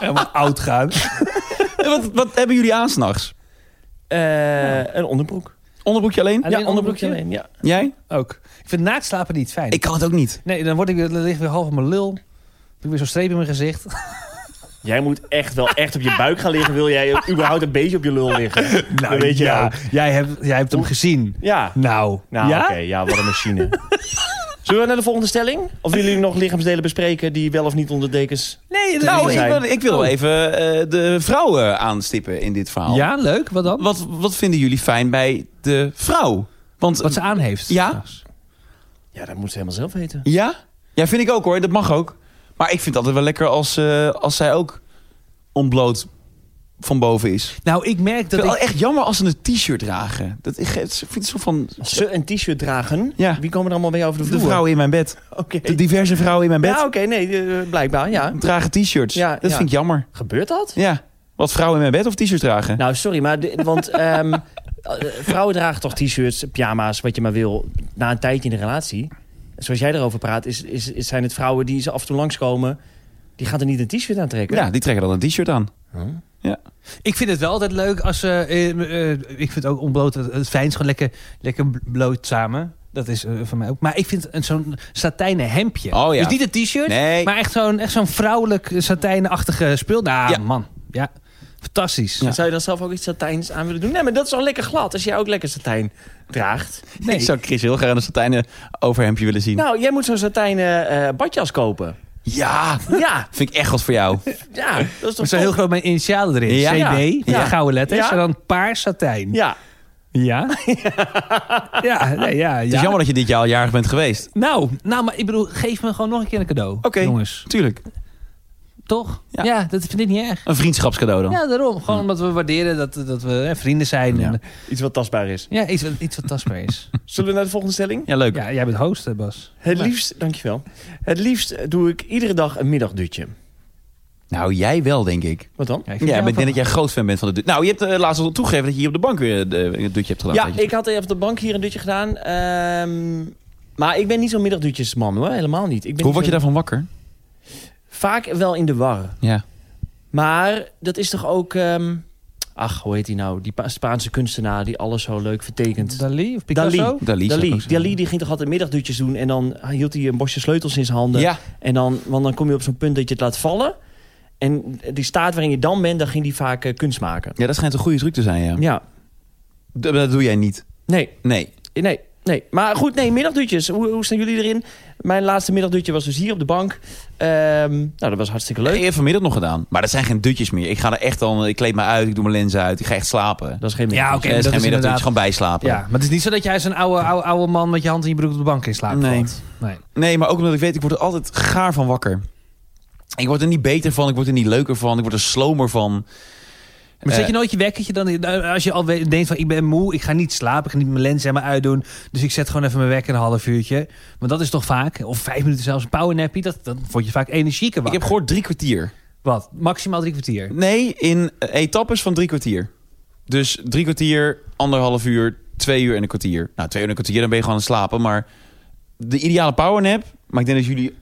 Speaker 2: Helemaal oud gaan.
Speaker 1: Eh, Wat, wat hebben jullie aan s'nachts?
Speaker 3: Eh, Een onderbroek.
Speaker 1: Onderbroekje alleen?
Speaker 2: Alleen
Speaker 3: ja, onderbroekje
Speaker 2: onderbroekje?
Speaker 3: alleen, ja.
Speaker 1: Jij?
Speaker 2: Ook. Ik vind naakt slapen niet fijn.
Speaker 1: Ik kan het ook niet.
Speaker 2: Nee, dan, word ik, weer- dan lig ik weer half op mijn lul. Dan heb ik weer zo'n streep in mijn gezicht.
Speaker 3: Jij moet echt wel echt op je buik gaan liggen. Wil jij überhaupt een beetje op je lul liggen?
Speaker 1: Nou,
Speaker 3: dat weet je
Speaker 2: ja,
Speaker 3: wel.
Speaker 2: Nou, jij, hebt, jij hebt hem gezien.
Speaker 3: Ja.
Speaker 2: Nou.
Speaker 3: Nou,
Speaker 2: ja?
Speaker 3: oké. ja, wat een machine. Zullen we naar de volgende stelling? Of willen jullie nog lichaamsdelen bespreken die wel of niet onder de dekens...
Speaker 2: Nee, dat-
Speaker 1: Nou, ik
Speaker 3: zijn.
Speaker 1: wil, ik wil
Speaker 2: Oh.
Speaker 1: even eh, de vrouwen aanstippen in dit verhaal.
Speaker 2: Ja, leuk. Wat dan?
Speaker 1: Wat, wat vinden jullie fijn bij de vrouw? Want,
Speaker 2: Wat ze aan heeft.
Speaker 1: Ja?
Speaker 2: trouwens.
Speaker 3: Ja, dat moet ze helemaal zelf weten.
Speaker 1: Ja? Ja, vind ik ook hoor. Dat mag ook. Maar ik vind het altijd wel lekker als, eh, als zij ook onbloot van boven is.
Speaker 2: Nou, ik merk
Speaker 1: Ik
Speaker 2: dat
Speaker 1: vind het
Speaker 2: ik...
Speaker 1: wel echt jammer als ze een t-shirt dragen. Dat, ik, ik vind het zo van...
Speaker 3: Als ze een t-shirt dragen,
Speaker 1: Ja.
Speaker 3: wie komen er allemaal mee over de
Speaker 1: De
Speaker 3: vloer?
Speaker 1: vrouwen in mijn bed.
Speaker 3: Oké.
Speaker 1: De diverse vrouwen in mijn
Speaker 3: Ja, oké,
Speaker 2: Nou,
Speaker 1: bed
Speaker 3: nee, eh, blijkbaar, ja.
Speaker 1: dragen t-shirts.
Speaker 3: Ja,
Speaker 1: dat
Speaker 3: ja.
Speaker 1: vind ik jammer.
Speaker 3: Gebeurt dat?
Speaker 1: Ja. Wat vrouwen in mijn bed of t-shirts dragen?
Speaker 3: Nou, sorry, maar de- want ehm, eh, Vrouwen dragen toch t-shirts, pyjama's, wat je maar wil. Na een tijdje in de relatie. Zoals jij erover praat, is, is, is- zijn het vrouwen die ze af en toe langskomen. Die gaan er niet een t-shirt aan trekken.
Speaker 1: Ja, die trekken dan een t-shirt aan.
Speaker 2: Ik vind het wel altijd leuk als ze... eh, eh, ik vind ook onbloot het- het fijnst gewoon lekker, lekker bloot samen. Dat is eh, van mij ook. Maar ik vind een- zo'n satijnen hemdje.
Speaker 1: Oh ja.
Speaker 2: Dus niet een t-shirt,
Speaker 1: Nee.
Speaker 2: maar echt zo'n echt zo'n vrouwelijk satijnachtige speel. Nou,
Speaker 1: Ja.
Speaker 2: man. Ja. Fantastisch.
Speaker 1: Ja.
Speaker 3: Zou je dan zelf ook iets satijns aan willen doen? Nee, maar dat is wel lekker glad als jij ook lekker satijn draagt.
Speaker 1: Ik zou Chris heel graag een satijnen overhemdje willen zien.
Speaker 3: Nou, jij moet zo'n satijnen eh, badjas kopen.
Speaker 1: Ja,
Speaker 3: Ja,
Speaker 1: vind ik echt wat voor jou.
Speaker 3: ja, dat is toch
Speaker 2: Met zo'n
Speaker 3: top?
Speaker 2: heel groot mijn initialen erin.
Speaker 1: Ja.
Speaker 2: CD,
Speaker 3: Ja.
Speaker 2: gouden letters.
Speaker 3: Ja.
Speaker 2: En dan paars satijn.
Speaker 3: Ja,
Speaker 2: Ja? ja, nee, ja,
Speaker 1: Het is
Speaker 2: ja.
Speaker 1: jammer dat je dit jaar al jarig bent geweest.
Speaker 2: Nou, nou, maar ik bedoel, geef me gewoon nog een keer een cadeau.
Speaker 1: Oké.
Speaker 2: Jongens,
Speaker 1: Tuurlijk.
Speaker 2: toch?
Speaker 1: Ja.
Speaker 2: Ja, dat vind ik niet erg.
Speaker 1: Een vriendschapscadeau dan.
Speaker 2: Ja, daarom. Gewoon omdat we waarderen dat, dat we hè, vrienden zijn.
Speaker 1: Ja.
Speaker 2: Ja, en,
Speaker 3: iets wat tastbaar is.
Speaker 2: ja iets, wat- iets wat tastbaar is.
Speaker 3: Zullen we naar de volgende stelling?
Speaker 1: Ja, leuk.
Speaker 2: ja, jij bent host, hè, Bas.
Speaker 3: Het liefst, dankjewel. Het liefst doe ik iedere dag een middagdutje.
Speaker 1: Nou, jij wel, denk ik.
Speaker 3: Wat dan?
Speaker 2: Ja, ik vind
Speaker 1: Ja,
Speaker 2: jou
Speaker 1: maar ik denk dat
Speaker 2: wel-
Speaker 1: jij groot fan bent van de dutje. Nou, je hebt eh, laatst al toegegeven dat je hier op de bank weer eh, een dutje hebt gedaan.
Speaker 3: Ja,
Speaker 1: weet je.
Speaker 3: ik had even op de bank hier een dutje gedaan. ehm, maar ik ben niet zo'n middagdutjesman hoor, helemaal niet. Ik
Speaker 1: Hoe
Speaker 3: ben niet
Speaker 1: word je
Speaker 3: zo-
Speaker 1: daarvan wakker?
Speaker 3: Vaak wel in de war.
Speaker 1: Ja.
Speaker 3: Maar dat is toch ook... ehm, ach, hoe heet die nou? Die Pa- Spaanse kunstenaar die alles zo leuk vertekent.
Speaker 2: Dali of Picasso?
Speaker 1: Dali. zou
Speaker 3: Dali.
Speaker 1: ik ook
Speaker 3: Dali,
Speaker 1: zeggen.
Speaker 3: Dali die ging toch altijd middagdutjes doen en dan hield hij een bosje sleutels in zijn handen.
Speaker 1: Ja,
Speaker 3: En dan, want dan kom je op zo'n punt dat je het laat vallen. En die staat waarin je dan bent, dan ging die vaak eh, kunst maken.
Speaker 1: ja, dat schijnt een goede truc te zijn, ja.
Speaker 3: Ja,
Speaker 1: D- Dat doe jij niet.
Speaker 3: nee,
Speaker 1: Nee.
Speaker 3: Eh, nee, nee. Maar goed, nee, middagdutjes. Hoe, hoe staan jullie erin? Mijn laatste middagdutje was dus hier op de bank. Ehm, nou, dat was hartstikke leuk.
Speaker 1: Ik heb vanmiddag nog gedaan. Maar dat zijn geen dutjes meer. Ik ga er echt dan... Ik kleed me uit, ik doe mijn lenzen uit. Ik ga echt slapen.
Speaker 3: Dat is geen
Speaker 2: Ja, oké,
Speaker 3: middagdutje.
Speaker 1: Eh, het
Speaker 2: dat
Speaker 1: is geen
Speaker 2: is
Speaker 1: middagdutje,
Speaker 2: inderdaad...
Speaker 1: gewoon bijslapen.
Speaker 2: Ja, maar het is niet zo dat jij zo'n oude, oude, oude man met je hand in je broek op de bank in slaap
Speaker 1: Nee.
Speaker 2: valt. Nee.
Speaker 1: Nee, maar ook omdat ik weet, ik word er altijd gaar van wakker. Ik word er niet beter van, ik word er niet leuker van, ik word er slomer van.
Speaker 2: Maar
Speaker 1: Eh,
Speaker 2: zet je nou- nooit je wekkertje dan in- nou, als je al weet- denkt van ik ben moe, ik ga niet slapen, ik ga niet mijn lens helemaal uitdoen. Dus ik zet gewoon even mijn wekker een half uurtje. Maar dat is toch vaak, of vijf minuten zelfs een powernappie, dat, dat word je vaak energieker
Speaker 1: Ik
Speaker 2: wakker.
Speaker 1: heb gehoord drie kwartier.
Speaker 2: Wat? Maximaal drie kwartier?
Speaker 1: Nee, in eh, etappes van drie kwartier. Dus drie kwartier, anderhalf uur, twee uur en een kwartier. Nou, twee uur en een kwartier, dan ben je gewoon aan het slapen. Maar de ideale powernap, maar ik denk dat jullie...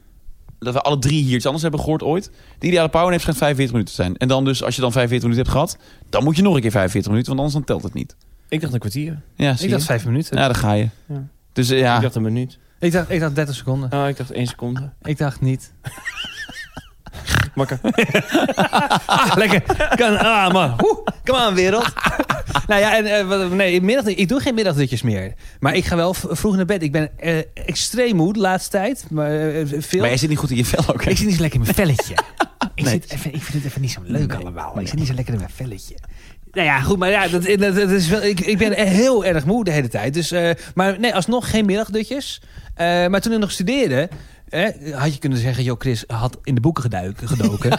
Speaker 1: dat we alle drie hier iets anders hebben gehoord ooit. De ideale powernap schijnt 45 minuten te zijn. En dan dus, als je dan 45 minuten hebt gehad... dan moet je nog een keer 45 minuten, want anders dan telt het niet.
Speaker 3: Ik dacht een kwartier.
Speaker 1: Ja, zie
Speaker 2: Ik dacht
Speaker 1: je?
Speaker 2: vijf minuten.
Speaker 1: Ja, daar ga je.
Speaker 3: Ja.
Speaker 1: Dus eh, ja...
Speaker 3: Ik dacht een minuut.
Speaker 2: Ik, dacht, ik dacht 30 seconden.
Speaker 3: Oh, ik dacht één seconde.
Speaker 2: Ik dacht niet.
Speaker 3: Makker.
Speaker 2: Ah, lekker. Kan, ah, man. Oeh, come on, wereld. nou ja, en, eh, wat- nee, middag, ik doe geen middagdutjes meer. Maar ik ga wel v- vroeg naar bed. Ik ben eh, extreem moe de laatste tijd. Maar, eh, veel.
Speaker 1: Maar jij zit niet goed in je vel ook. hè?
Speaker 2: Ik zit niet zo lekker in mijn velletje. ik,
Speaker 1: Nee.
Speaker 2: zit even, ik vind het even niet zo leuk allemaal. Ik zit niet zo lekker in mijn velletje. Nou ja, goed, maar ja, dat, dat, dat is wel, ik, ik ben eh, heel erg moe de hele tijd. Dus, eh, maar nee, alsnog geen middagdutjes. Eh, maar toen ik nog studeerde, eh, had je kunnen zeggen... joh, Chris had in de boeken geduiken, gedoken.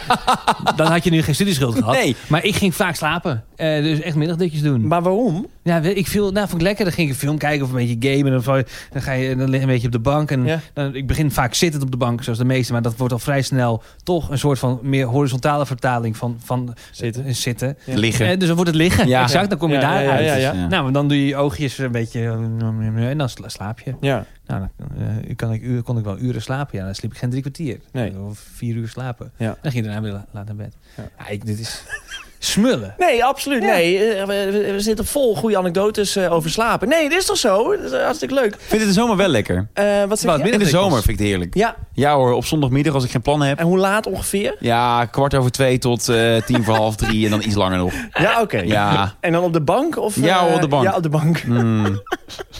Speaker 2: Dan had je nu geen studieschuld gehad.
Speaker 1: Nee.
Speaker 2: Maar ik ging vaak slapen. Eh, dus echt middagdutjes doen.
Speaker 3: Maar waarom?
Speaker 2: Ja, weet- ik viel, nou, vond ik lekker. Dan ging ik een film kijken of een beetje gamen. Dan, val je- dan ga je dan lig je een beetje op de bank. En
Speaker 3: Ja.
Speaker 2: dan, ik begin vaak zittend op de bank, zoals de meeste. Maar dat wordt al vrij snel toch een soort van meer horizontale vertaling van, van
Speaker 3: Zitten.
Speaker 2: eh, zitten.
Speaker 3: Ja.
Speaker 1: Liggen.
Speaker 2: Eh, dus dan wordt het liggen.
Speaker 1: Ja.
Speaker 2: Exact, dan kom je
Speaker 3: Ja, ja,
Speaker 2: daaruit.
Speaker 3: ja, ja, ja.
Speaker 1: Ja.
Speaker 2: Nou, maar dan doe je je oogjes een beetje... eh, En dan sla- slaap je.
Speaker 3: Ja.
Speaker 2: Nou, dan eh, kan ik, uren- kon ik wel uren slapen. Ja, dan sliep ik geen drie kwartier.
Speaker 3: Nee.
Speaker 2: Of vier uur slapen.
Speaker 3: Ja.
Speaker 2: Dan ging je daarna weer la- laat naar bed.
Speaker 3: Ja.
Speaker 2: Ja. ik, dit is smullen.
Speaker 3: Nee, absoluut. Nee, Eh, we, we- we zitten vol goede anekdotes eh, over slapen. Nee, dit is toch zo? Dat is eh, hartstikke leuk.
Speaker 1: Ik vind het in de zomer wel lekker.
Speaker 3: Eh, wat zeg
Speaker 2: Wat,
Speaker 3: je?
Speaker 1: In de
Speaker 2: Middagdutjes.
Speaker 1: zomer vind ik het heerlijk.
Speaker 3: Ja,
Speaker 1: Ja hoor, op zondagmiddag als ik geen plan heb.
Speaker 3: en hoe laat ongeveer?
Speaker 1: Ja, kwart over twee tot eh, tien voor half drie en dan iets langer nog.
Speaker 3: Ja, oké.
Speaker 1: Ja,
Speaker 3: En dan op de bank? Of,
Speaker 1: Ja,
Speaker 3: eh,
Speaker 1: op de bank.
Speaker 3: Ja, op de bank.
Speaker 1: mm.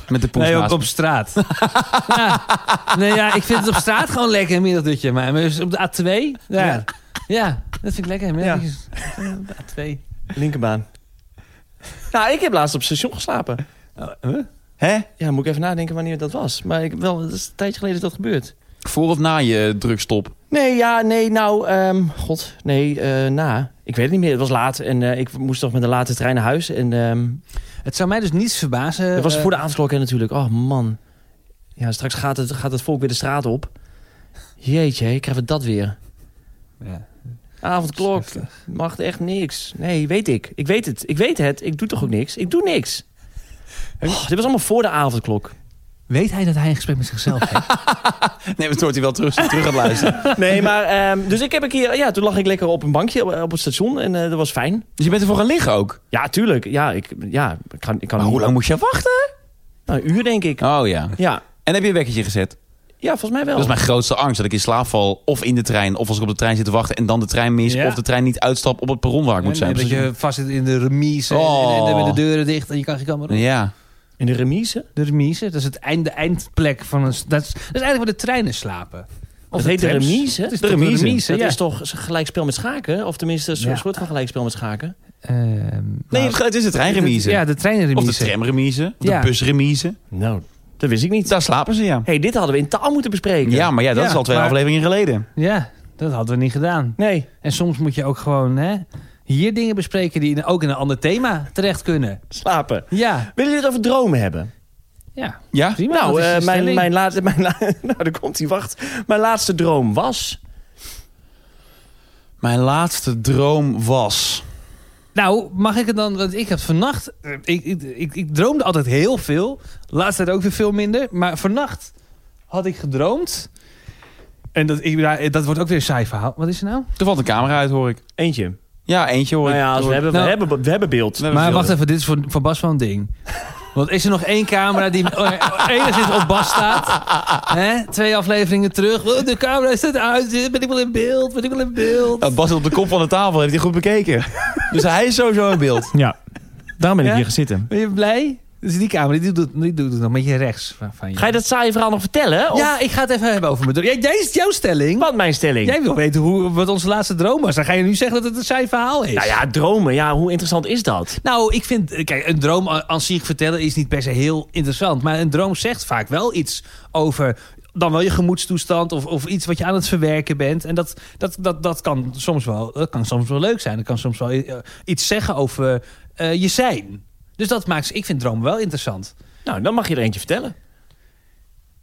Speaker 1: met de poes
Speaker 2: Nee, op,
Speaker 1: naast
Speaker 2: op
Speaker 1: me.
Speaker 2: straat. ja. Nee, ja, ik vind het op straat gewoon lekker, een middagdutje. Maar maar op de A2, ja.
Speaker 3: Ja.
Speaker 2: ja. dat vind ik lekker. middagdutjes. eh, Op de A2.
Speaker 3: Linkerbaan. Nou, ik heb laatst op het station geslapen.
Speaker 1: Hè?
Speaker 3: Ja, moet ik even nadenken wanneer dat was. Maar ik, wel, het is een tijdje geleden dat dat gebeurt.
Speaker 1: Voor of na je drugstop?
Speaker 3: Nee, ja, nee, nou, ehm, god, nee, eh, na. Ik weet het niet meer, het was laat en eh, ik moest toch met de late trein naar huis. En ehm
Speaker 2: Het zou mij dus niets verbazen.
Speaker 3: dat was
Speaker 2: eh,
Speaker 3: voor de avondklok hè, natuurlijk. Oh man, ja, straks gaat het, gaat het volk weer de straat op. Jeetje, krijgen we dat weer.
Speaker 2: ja.
Speaker 3: Avondklok. Mag echt niks. Nee, weet ik. Ik weet het. Ik weet het. Ik doe toch ook niks. Ik doe niks. Oh, dit was allemaal voor de avondklok.
Speaker 2: Weet hij dat hij een gesprek met zichzelf heeft?
Speaker 1: Nee, maar toen wordt hij wel terug, terug gaat luisteren.
Speaker 3: Nee, maar ehm, dus ik heb een keer, ja, toen lag ik lekker op een bankje op, op het station en eh, dat was fijn.
Speaker 1: Dus je bent ervoor gaan liggen ook.
Speaker 3: Ja, tuurlijk. Ja, ik, ja, ik kan, ik kan
Speaker 1: Maar hoe lang moest je wachten?
Speaker 3: Nou, een uur denk ik.
Speaker 1: Oh ja.
Speaker 3: Ja,
Speaker 1: En heb je een wekkertje gezet?
Speaker 3: ja, volgens mij wel.
Speaker 1: Dat is mijn grootste angst. Dat ik in slaap val. Of in de trein. Of als ik op de trein zit te wachten en dan de trein mis.
Speaker 2: Ja.
Speaker 1: Of de trein niet uitstap op het perron waar ik moet zijn. Oh.
Speaker 2: dat
Speaker 1: Dus-
Speaker 2: je vast zit in de remise en, en, en met de deuren dicht en je kan geen kamer op.
Speaker 1: Ja.
Speaker 3: In de remise.
Speaker 2: De remise, dat is het eind, de eindplek van een... s- Dat is, dat is eigenlijk waar de treinen slapen.
Speaker 3: Of dat heet de
Speaker 2: trams.
Speaker 3: remise.
Speaker 2: Het is
Speaker 3: de
Speaker 2: toch
Speaker 3: remise. dat
Speaker 2: ja.
Speaker 3: is toch een gelijkspel met schaken? Of tenminste een
Speaker 2: Ja.
Speaker 3: soort van gelijkspel met schaken.
Speaker 2: Ehm,
Speaker 1: Nee,
Speaker 2: maar-
Speaker 1: het is de Nou, treinremise.
Speaker 2: Ja, de
Speaker 1: Of
Speaker 2: treinremise.
Speaker 1: de tramremise. Of
Speaker 2: Ja.
Speaker 1: de busremise.
Speaker 3: Nou, dat wist ik niet.
Speaker 1: Daar slapen ze, ja.
Speaker 3: hey, dit hadden we in taal moeten bespreken.
Speaker 1: Ja, maar ja, dat
Speaker 2: Ja,
Speaker 1: is al twee
Speaker 2: maar-
Speaker 1: afleveringen geleden.
Speaker 2: Ja, dat hadden we niet gedaan.
Speaker 3: Nee.
Speaker 2: En soms moet je ook gewoon hè, hier dingen bespreken die in- ook in een ander thema terecht kunnen.
Speaker 3: Slapen.
Speaker 2: Ja,
Speaker 3: Willen jullie het over dromen hebben?
Speaker 2: ja.
Speaker 1: Ja?
Speaker 2: Prima, dat
Speaker 3: nou,
Speaker 2: is
Speaker 3: eh,
Speaker 2: je
Speaker 3: mijn,
Speaker 2: stelling.
Speaker 3: mijn laatste... Mijn la- nou, daar komt hij, wacht. Mijn laatste droom was...
Speaker 1: Mijn laatste droom was...
Speaker 2: Nou, mag ik het dan? Want ik heb vannacht. eh, Ik, ik, ik, ik droomde altijd heel veel. Laatst tijd ook weer veel minder. Maar vannacht had ik gedroomd. En dat, ik, ja, dat wordt ook weer een saai verhaal. Wat is er nou?
Speaker 1: Er valt een camera uit, hoor ik.
Speaker 3: Eentje.
Speaker 1: Ja, eentje hoor ik.
Speaker 3: Nou ja, als we,
Speaker 1: Hoor ik.
Speaker 3: hebben,
Speaker 2: Nou.
Speaker 3: we, hebben, we hebben beeld.
Speaker 1: We hebben
Speaker 2: Maar
Speaker 1: veel.
Speaker 2: wacht even, dit is voor, voor Bas wel een ding. Want is er nog één camera die eh, enigszins op Bas staat? Hè? Twee afleveringen terug. Oh, de camera staat uit. Ben ik wel in beeld? Ben ik wel in
Speaker 3: Oh.
Speaker 2: beeld?
Speaker 1: Nou, Bas zit op de kop van de tafel, heeft hij goed bekeken. Dus hij is sowieso in beeld.
Speaker 3: Ja. Daarom ben ik
Speaker 2: Ja?
Speaker 3: hier gaan zitten.
Speaker 2: Ben je blij? Dus die camera die doet, die doet het nog een beetje rechts van, van je.
Speaker 3: Ga je dat saaie verhaal nog vertellen? Of
Speaker 2: Ja, ik ga het even hebben over mijn droom. Jij, jij is jouw stelling.
Speaker 3: wat mijn stelling?
Speaker 2: Jij wil weten hoe, wat onze laatste droom was. Dan ga je nu zeggen dat het een saai verhaal is.
Speaker 3: Nou ja, dromen. Ja, hoe interessant is dat?
Speaker 2: Nou, ik vind... eh, Kijk, een droom a- aan zich vertellen is niet per se heel interessant. Maar een droom zegt vaak wel iets over... Dan wel je gemoedstoestand of, of iets wat je aan het verwerken bent. En dat, dat, dat, dat, kan soms wel, dat kan soms wel leuk zijn. Dat kan soms wel eh, iets zeggen over eh, je zijn. Dus dat maakt... Ik vind dromen wel interessant.
Speaker 3: Nou, dan mag je er eentje vertellen.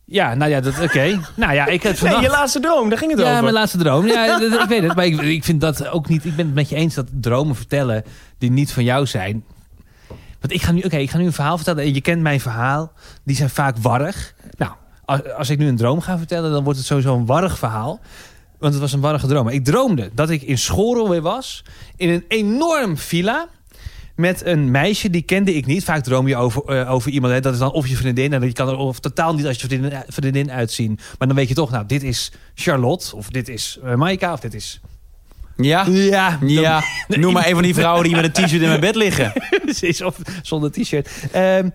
Speaker 2: Ja, nou ja, dat oké. nou ja, ik heb
Speaker 3: Nee,
Speaker 2: vannacht...
Speaker 3: je laatste droom, daar ging het
Speaker 2: ja,
Speaker 3: over.
Speaker 2: mijn laatste droom. Ja, dat- dat- ik weet het. Maar ik, ik vind dat ook niet. Ik ben het met je eens dat dromen vertellen die niet van jou zijn. Want ik ga nu, oké, ik ga nu een verhaal vertellen. En je kent mijn verhaal. Die zijn vaak warrig. Nou, als, als ik nu een droom ga vertellen, dan wordt het sowieso een warrig verhaal. Want het was een warrige droom. Maar ik droomde dat ik in Schorel weer was. In een enorm villa. Met een meisje, die kende ik niet. Vaak droom je over, eh, over iemand. Hè. Dat is dan of je vriendin. En je kan er of totaal niet als je vriendin, eh, vriendin uitzien. Maar dan weet je toch, nou, dit is Charlotte. Of dit is eh, Maika. Of dit is...
Speaker 1: Ja?
Speaker 2: Ja,
Speaker 1: Ja, noem maar een van die vrouwen die met een t-shirt in mijn bed liggen.
Speaker 2: Precies, of zonder t-shirt. Ehm,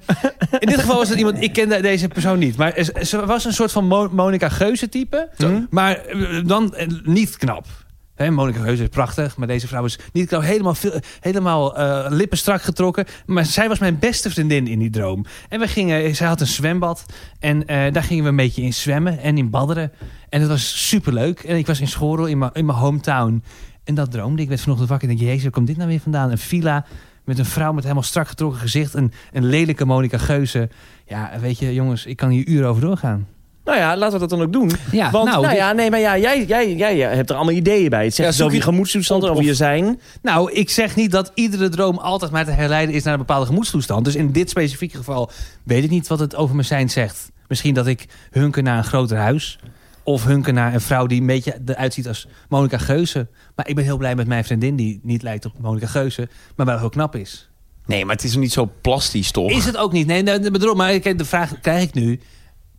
Speaker 2: in dit geval was het iemand... Ik kende deze persoon niet. Maar ze- ze was een soort van Mo- Monica Geuze type. Maar eh, dan eh, niet knap. Hè, Monica Geuze is prachtig, maar deze vrouw is niet knap. Helemaal, veel, helemaal eh, lippen strak getrokken. Maar zij was mijn beste vriendin in die droom. En we gingen, zij had een zwembad. En eh, daar gingen we een beetje in zwemmen en in badderen. En het was superleuk. En ik was in Schorel, in mijn in mijn hometown. En dat droomde ik. Ik werd vanochtend wakker en denk, jezus, waar komt dit nou weer vandaan? Een villa met een vrouw met helemaal strak getrokken gezicht. Een, een lelijke Monica Geuze. Ja, weet je, jongens, ik kan hier uren over doorgaan.
Speaker 3: Nou ja, laten we dat dan ook doen.
Speaker 2: Ja,
Speaker 3: Want, nou,
Speaker 2: nou, dit-
Speaker 3: ja, nee, maar ja, jij, jij, jij hebt er allemaal ideeën bij. Het zegt
Speaker 1: Ja,
Speaker 3: iets
Speaker 1: zoek
Speaker 3: over je
Speaker 1: je-
Speaker 3: gemoedstoestand,
Speaker 1: op-
Speaker 3: over
Speaker 1: of-
Speaker 3: je zijn.
Speaker 2: Nou, ik zeg niet dat iedere droom altijd maar te herleiden is naar een bepaalde gemoedstoestand. Dus in dit specifieke geval weet ik niet wat het over mijn zijn zegt. Misschien dat ik hunker naar een groter huis. Of hunker naar een vrouw die een beetje eruit ziet als Monica Geuze. Maar ik ben heel blij met mijn vriendin die niet lijkt op Monica Geuze. Maar wel heel knap is.
Speaker 1: Nee, maar het is nog niet zo plastisch, toch?
Speaker 2: Is het ook niet? Nee, nou, bedoel, maar kijk, de vraag krijg ik nu.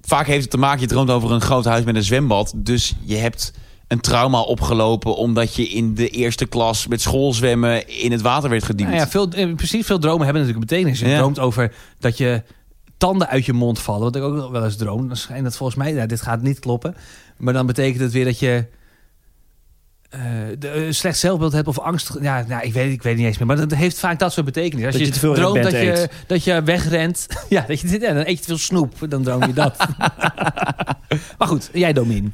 Speaker 1: Vaak heeft het te maken, je droomt over een groot huis met een zwembad. Dus je hebt een trauma opgelopen omdat je in de eerste klas met schoolzwemmen in het water werd geduwd.
Speaker 2: Nou ja, veel, eh, precies, veel dromen hebben natuurlijk een betekenis. Je
Speaker 1: Ja.
Speaker 2: droomt over dat je tanden uit je mond vallen. Wat ik ook wel eens droom. Dan schijnt dat volgens mij, nou, dit gaat niet kloppen. Maar dan betekent het weer dat je eh, de, eh, slecht zelfbeeld hebt of angst. Ja, nou, ik, weet, ik weet niet eens meer. Maar dat heeft vaak dat soort betekenis. Als
Speaker 3: Dat je te veel in
Speaker 2: droomt
Speaker 3: bed
Speaker 2: dat je,
Speaker 3: eet.
Speaker 2: dat je wegrent. ja, dat je, dit- ja, dan eet je te veel snoep. Dan droom je dat. maar goed, jij Domin.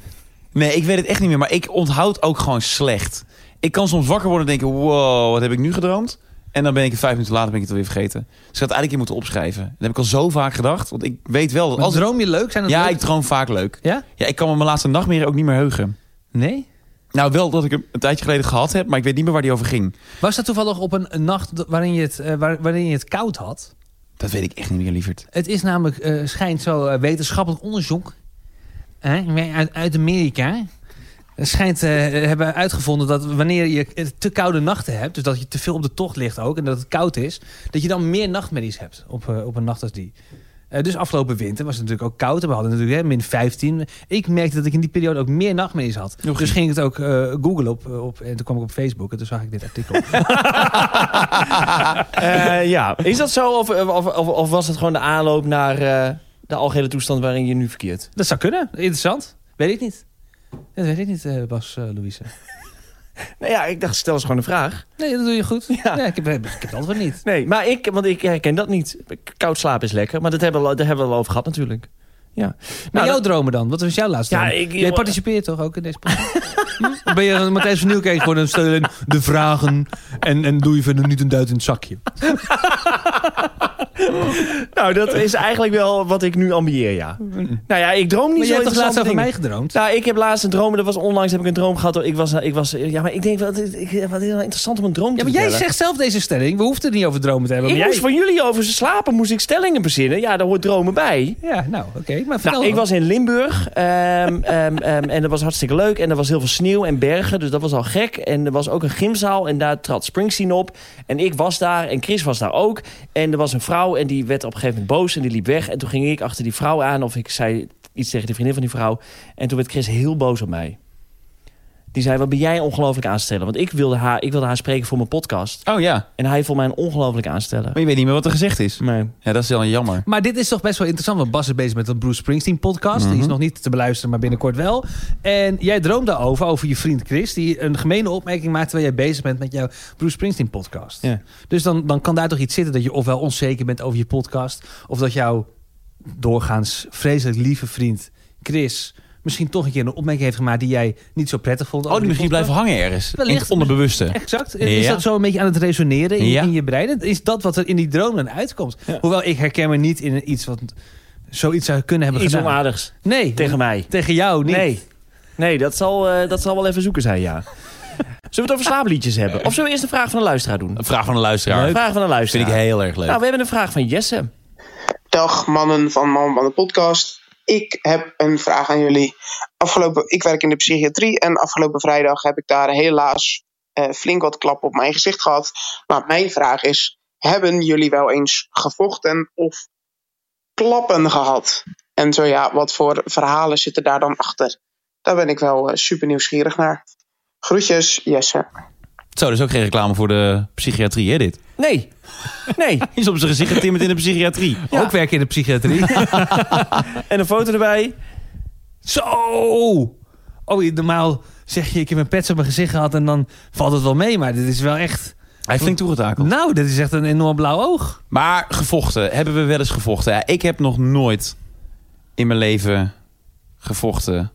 Speaker 1: Nee, ik weet het echt niet meer, maar ik onthoud ook gewoon slecht. Ik kan soms wakker worden en denken, wow, wat heb ik nu gedroomd? En dan ben ik het vijf minuten later ben ik het alweer vergeten. Dus ik had het eigenlijk in moeten opschrijven. Dat heb ik al zo vaak gedacht, want ik weet wel... dat
Speaker 2: Als
Speaker 1: Als
Speaker 2: droom je leuk? Zijn dat
Speaker 1: Ja,
Speaker 2: leuke-
Speaker 1: ik droom vaak leuk.
Speaker 2: Ja?
Speaker 1: Ja, ik kan me mijn laatste nachtmerrie ook niet meer heugen.
Speaker 2: Nee?
Speaker 1: Nou, wel dat ik hem een tijdje geleden gehad heb, maar ik weet niet meer waar die over ging.
Speaker 2: Was dat toevallig op een, een nacht waarin je, het, eh, waar- waarin je het koud had?
Speaker 1: Dat weet ik echt niet meer, lieverd.
Speaker 2: Het is namelijk, eh, schijnt zo eh, wetenschappelijk onderzoek hè, uit, uit Amerika. Er Schijnt eh, hebben uitgevonden dat wanneer je eh, te koude nachten hebt, dus dat je te veel op de tocht ligt ook en dat het koud is, dat je dan meer nachtmerries hebt op, eh, op een nacht als die. Eh, dus afgelopen winter was het natuurlijk ook koud. en We hadden natuurlijk hè, min 15. Ik merkte dat ik in die periode ook meer nachtmerries had. Dus ging ik het ook eh googlen op, op. En toen kwam ik op Facebook en toen zag ik dit artikel.
Speaker 3: Eh, ja, is dat zo? Of, of, of, of was het gewoon de aanloop naar eh, de algehele toestand waarin je nu verkeert?
Speaker 2: Dat zou kunnen. Interessant. Weet ik niet. Dat weet ik niet, eh, Bas eh Louise.
Speaker 3: Nou ja, ik dacht, stel eens gewoon een vraag.
Speaker 2: Nee, dat doe je goed. Nee, ik, heb, ik heb het antwoord niet.
Speaker 3: Nee, maar ik, want ik herken dat niet. Koud slapen is lekker, maar dat hebben we, al- daar hebben we al over gehad natuurlijk. Ja.
Speaker 2: Maar
Speaker 3: Nou,
Speaker 2: jouw
Speaker 3: dat-
Speaker 2: dromen dan? Wat was jouw laatste
Speaker 3: Ja,
Speaker 2: droom?
Speaker 3: ik-
Speaker 2: Jij participeert toch ook in deze podcast? Hm? Of ben je een Matthijs van Nieuwkerk voor een steun de vragen en, en doe je verder niet een duit in het zakje?
Speaker 3: nou, dat is eigenlijk wel wat ik nu ambieer, ja. Nou ja, ik droom niet
Speaker 2: Mm. Maar
Speaker 3: zo
Speaker 2: jij hebt toch laatst
Speaker 3: interessante
Speaker 2: over
Speaker 3: dingen.
Speaker 2: mij gedroomd?
Speaker 3: Nou, ik heb laatst een droom. Dat was onlangs heb ik een droom gehad. Ik was, eh, ik was, ja, maar ik denk wat, ik, wat is nou interessant om een droom
Speaker 2: Ja,
Speaker 3: te
Speaker 2: maar jij
Speaker 3: vertellen.
Speaker 2: zegt zelf deze stelling. We hoeven het niet over dromen te hebben.
Speaker 3: ik
Speaker 2: maar
Speaker 3: moest
Speaker 2: jij...
Speaker 3: van jullie over ze slapen, moest ik stellingen verzinnen. Ja, daar hoort dromen bij.
Speaker 2: Ja, nou, oké. Maar vertel
Speaker 3: Nou, ik
Speaker 2: dan.
Speaker 3: was in Limburg ehm, ehm, ehm, en dat was hartstikke leuk. En er was heel veel sneeuw en bergen, dus dat was al gek. En er was ook een gymzaal en daar trad Springsteen op. En ik was daar en Chris was daar ook. En er was een vrouw en die werd op een gegeven moment boos en die liep weg. En toen ging ik achter die vrouw aan of ik zei iets tegen de vriendin van die vrouw. En toen werd Chris heel boos op mij. Die zei, wat ben jij ongelooflijk aanstellen? Want ik wilde, haar, ik wilde haar spreken voor mijn podcast.
Speaker 1: Oh ja,
Speaker 3: En hij vond mij een ongelooflijk aanstellen.
Speaker 1: maar je weet niet meer wat er gezegd is.
Speaker 3: Nee.
Speaker 1: Ja, dat is wel jammer.
Speaker 2: Maar dit is toch best wel interessant, want Bas is bezig met een Bruce Springsteen podcast. Die is nog niet te beluisteren, maar binnenkort wel. En jij droomt daarover, over je vriend Chris, die een gemene opmerking maakt terwijl jij bezig bent met jouw Bruce Springsteen podcast.
Speaker 3: Ja.
Speaker 2: Dus dan, dan kan daar toch iets zitten dat je ofwel onzeker bent over je podcast, of dat jouw doorgaans vreselijk lieve vriend Chris misschien toch een keer een opmerking heeft gemaakt die jij niet zo prettig vond.
Speaker 1: Oh, die misschien blijven
Speaker 2: blijven
Speaker 1: hangen ergens. In
Speaker 2: Wellicht.
Speaker 1: het onderbewuste.
Speaker 2: Exact. Is
Speaker 1: Ja.
Speaker 2: dat zo een beetje aan het resoneren in,
Speaker 1: Ja.
Speaker 2: in je brein? Is dat wat er in die droom dan uitkomt? Hoewel ik herken me niet in iets wat zoiets zou kunnen hebben
Speaker 3: Iets
Speaker 2: gedaan.
Speaker 3: onaardigs
Speaker 2: Nee,
Speaker 3: tegen mij.
Speaker 2: tegen jou niet.
Speaker 3: Nee, nee dat, zal, eh, dat zal wel even zoeken zijn, ja. Zullen we het over slaapliedjes hebben? Of zullen we eerst een vraag van een luisteraar doen?
Speaker 1: Een vraag van een luisteraar.
Speaker 3: Een vraag van een
Speaker 1: Vind
Speaker 3: luisteraar.
Speaker 1: ik heel erg leuk.
Speaker 3: Nou, we hebben een vraag van Jesse.
Speaker 5: Dag mannen van Man van de Podcast. Ik heb een vraag aan jullie. Afgelopen, ik werk in de psychiatrie en afgelopen vrijdag heb ik daar helaas eh, flink wat klappen op mijn gezicht gehad. Maar mijn vraag is: hebben jullie wel eens gevochten of klappen gehad? En zo ja, wat voor verhalen zitten daar dan achter? Daar ben ik wel eh, super nieuwsgierig naar. Groetjes, Jesse.
Speaker 1: Zo, dus ook geen reclame voor de psychiatrie, hè, dit?
Speaker 3: Nee, nee.
Speaker 1: Hij is op zijn gezicht getimmerd in de psychiatrie.
Speaker 2: Ook werk je in de psychiatrie.
Speaker 3: En een foto erbij.
Speaker 2: zo! Oh, je- normaal zeg je ik heb een pet op mijn gezicht gehad en dan valt het wel mee. Maar dit is wel echt...
Speaker 1: Hij heeft flink toegetakeld.
Speaker 2: Nou, dit is echt een enorm blauw oog.
Speaker 1: Maar gevochten, hebben we wel eens gevochten? Ja, ik heb nog nooit in mijn leven gevochten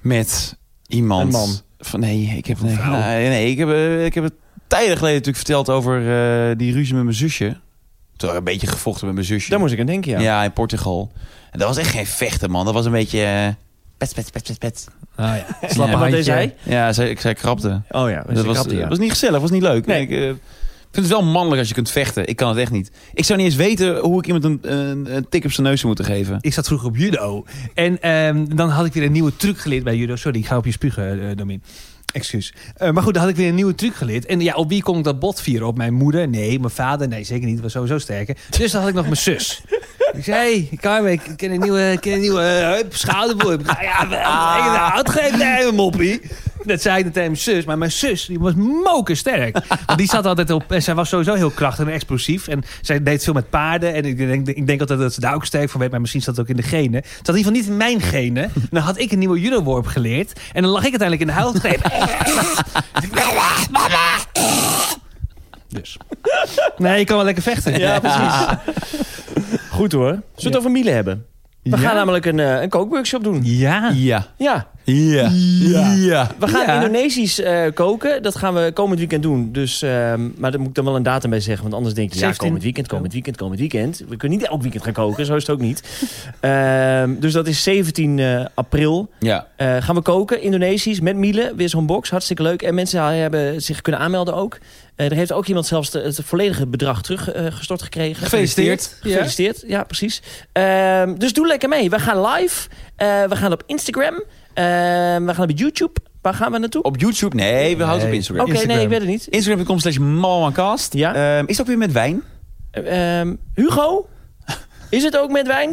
Speaker 1: met iemand.
Speaker 3: Een man.
Speaker 1: Van, nee, ik heb, nee, nee, nee, ik heb, eh, ik heb het tijden geleden natuurlijk verteld over eh, die ruzie met mijn zusje. Toen een beetje gevochten met mijn zusje.
Speaker 3: Daar moest ik aan denken, ja.
Speaker 1: ja. in Portugal. En dat was echt geen vechten, man. Dat was een beetje... eh, pet, pet, pet, pet, pet.
Speaker 2: Nou ja,
Speaker 1: slappe
Speaker 3: Wat deed hij?
Speaker 1: Ja, zij, ik zei krabde.
Speaker 3: Oh ja,
Speaker 1: Dat was, was niet gezellig, was niet leuk.
Speaker 3: Nee.
Speaker 1: Ik, eh, vind het wel mannelijk als je kunt vechten. Ik kan het echt niet. Ik zou niet eens weten hoe ik iemand een, een, een tik op zijn neus zou moeten geven.
Speaker 2: Ik zat vroeger op judo. En ehm, dan had ik weer een nieuwe truc geleerd bij judo. Sorry, ik ga op je spugen, eh Domin. Excuus. Eh, maar goed, dan had ik weer een nieuwe truc geleerd. En ja, op wie kon ik dat bot vieren? Op mijn moeder? Nee, mijn vader? Nee, zeker niet. was sowieso sterker. Dus dan had ik nog mijn zus. Ik zei, hey, Carmen, ik ken een nieuwe, ik ken een nieuwe eh, heup, schouderboel. Ik zei, Ja, ah. uitgeven, nee, moppie. Dat zei ik dan tegen mijn zus. Maar mijn zus, die was mokersterk. Want die zat altijd op... En zij was sowieso heel krachtig en explosief. En zij deed veel met paarden. En ik denk, ik denk altijd dat ze daar ook sterk van weet. Maar misschien zat het ook in de genen. Het zat in ieder geval niet in mijn genen. En Dan had ik een nieuwe judoworp geleerd. En dan lag ik uiteindelijk in de huil te Dus. Nee, je kan wel lekker vechten.
Speaker 3: Ja, precies. Goed hoor. Zullen we het over Miele hebben? We
Speaker 2: Ja?
Speaker 3: gaan namelijk een, eh, een kookworkshop doen.
Speaker 2: Ja.
Speaker 1: Ja.
Speaker 3: Ja.
Speaker 1: Ja. Ja. ja.
Speaker 3: We gaan
Speaker 2: Ja.
Speaker 3: Indonesisch eh, koken. Dat gaan we komend weekend doen. Dus, ehm, maar daar moet ik dan wel een datum bij zeggen. Want anders denk je, ja,
Speaker 2: 17.
Speaker 3: komend weekend, komend weekend, komend weekend. We kunnen niet elk weekend gaan koken. Zo is het ook niet. Ehm, dus dat is 17 eh, april. Eh, gaan we koken, Indonesisch, met Miele. Weer zo'n box, hartstikke leuk. En mensen eh, hebben zich kunnen aanmelden ook. Eh, er heeft ook iemand zelfs de- het volledige bedrag teruggestort gekregen.
Speaker 1: Gefeliciteerd.
Speaker 2: Ja.
Speaker 3: Gefeliciteerd, ja, precies. Ehm, dus doe lekker mee. We gaan live. Eh, we gaan op Instagram. Ehm, we gaan op YouTube. Waar gaan we naartoe? Oké,
Speaker 1: Op YouTube? Nee, we houden het op
Speaker 2: Nee.
Speaker 1: Instagram.
Speaker 2: Oké. Instagram.
Speaker 3: nee, ik weet het niet.
Speaker 1: Instagram.com slash malmancast.
Speaker 3: Ja.
Speaker 1: Ehm, is dat weer met wijn?
Speaker 3: Ehm, Hugo? Is het ook met wijn?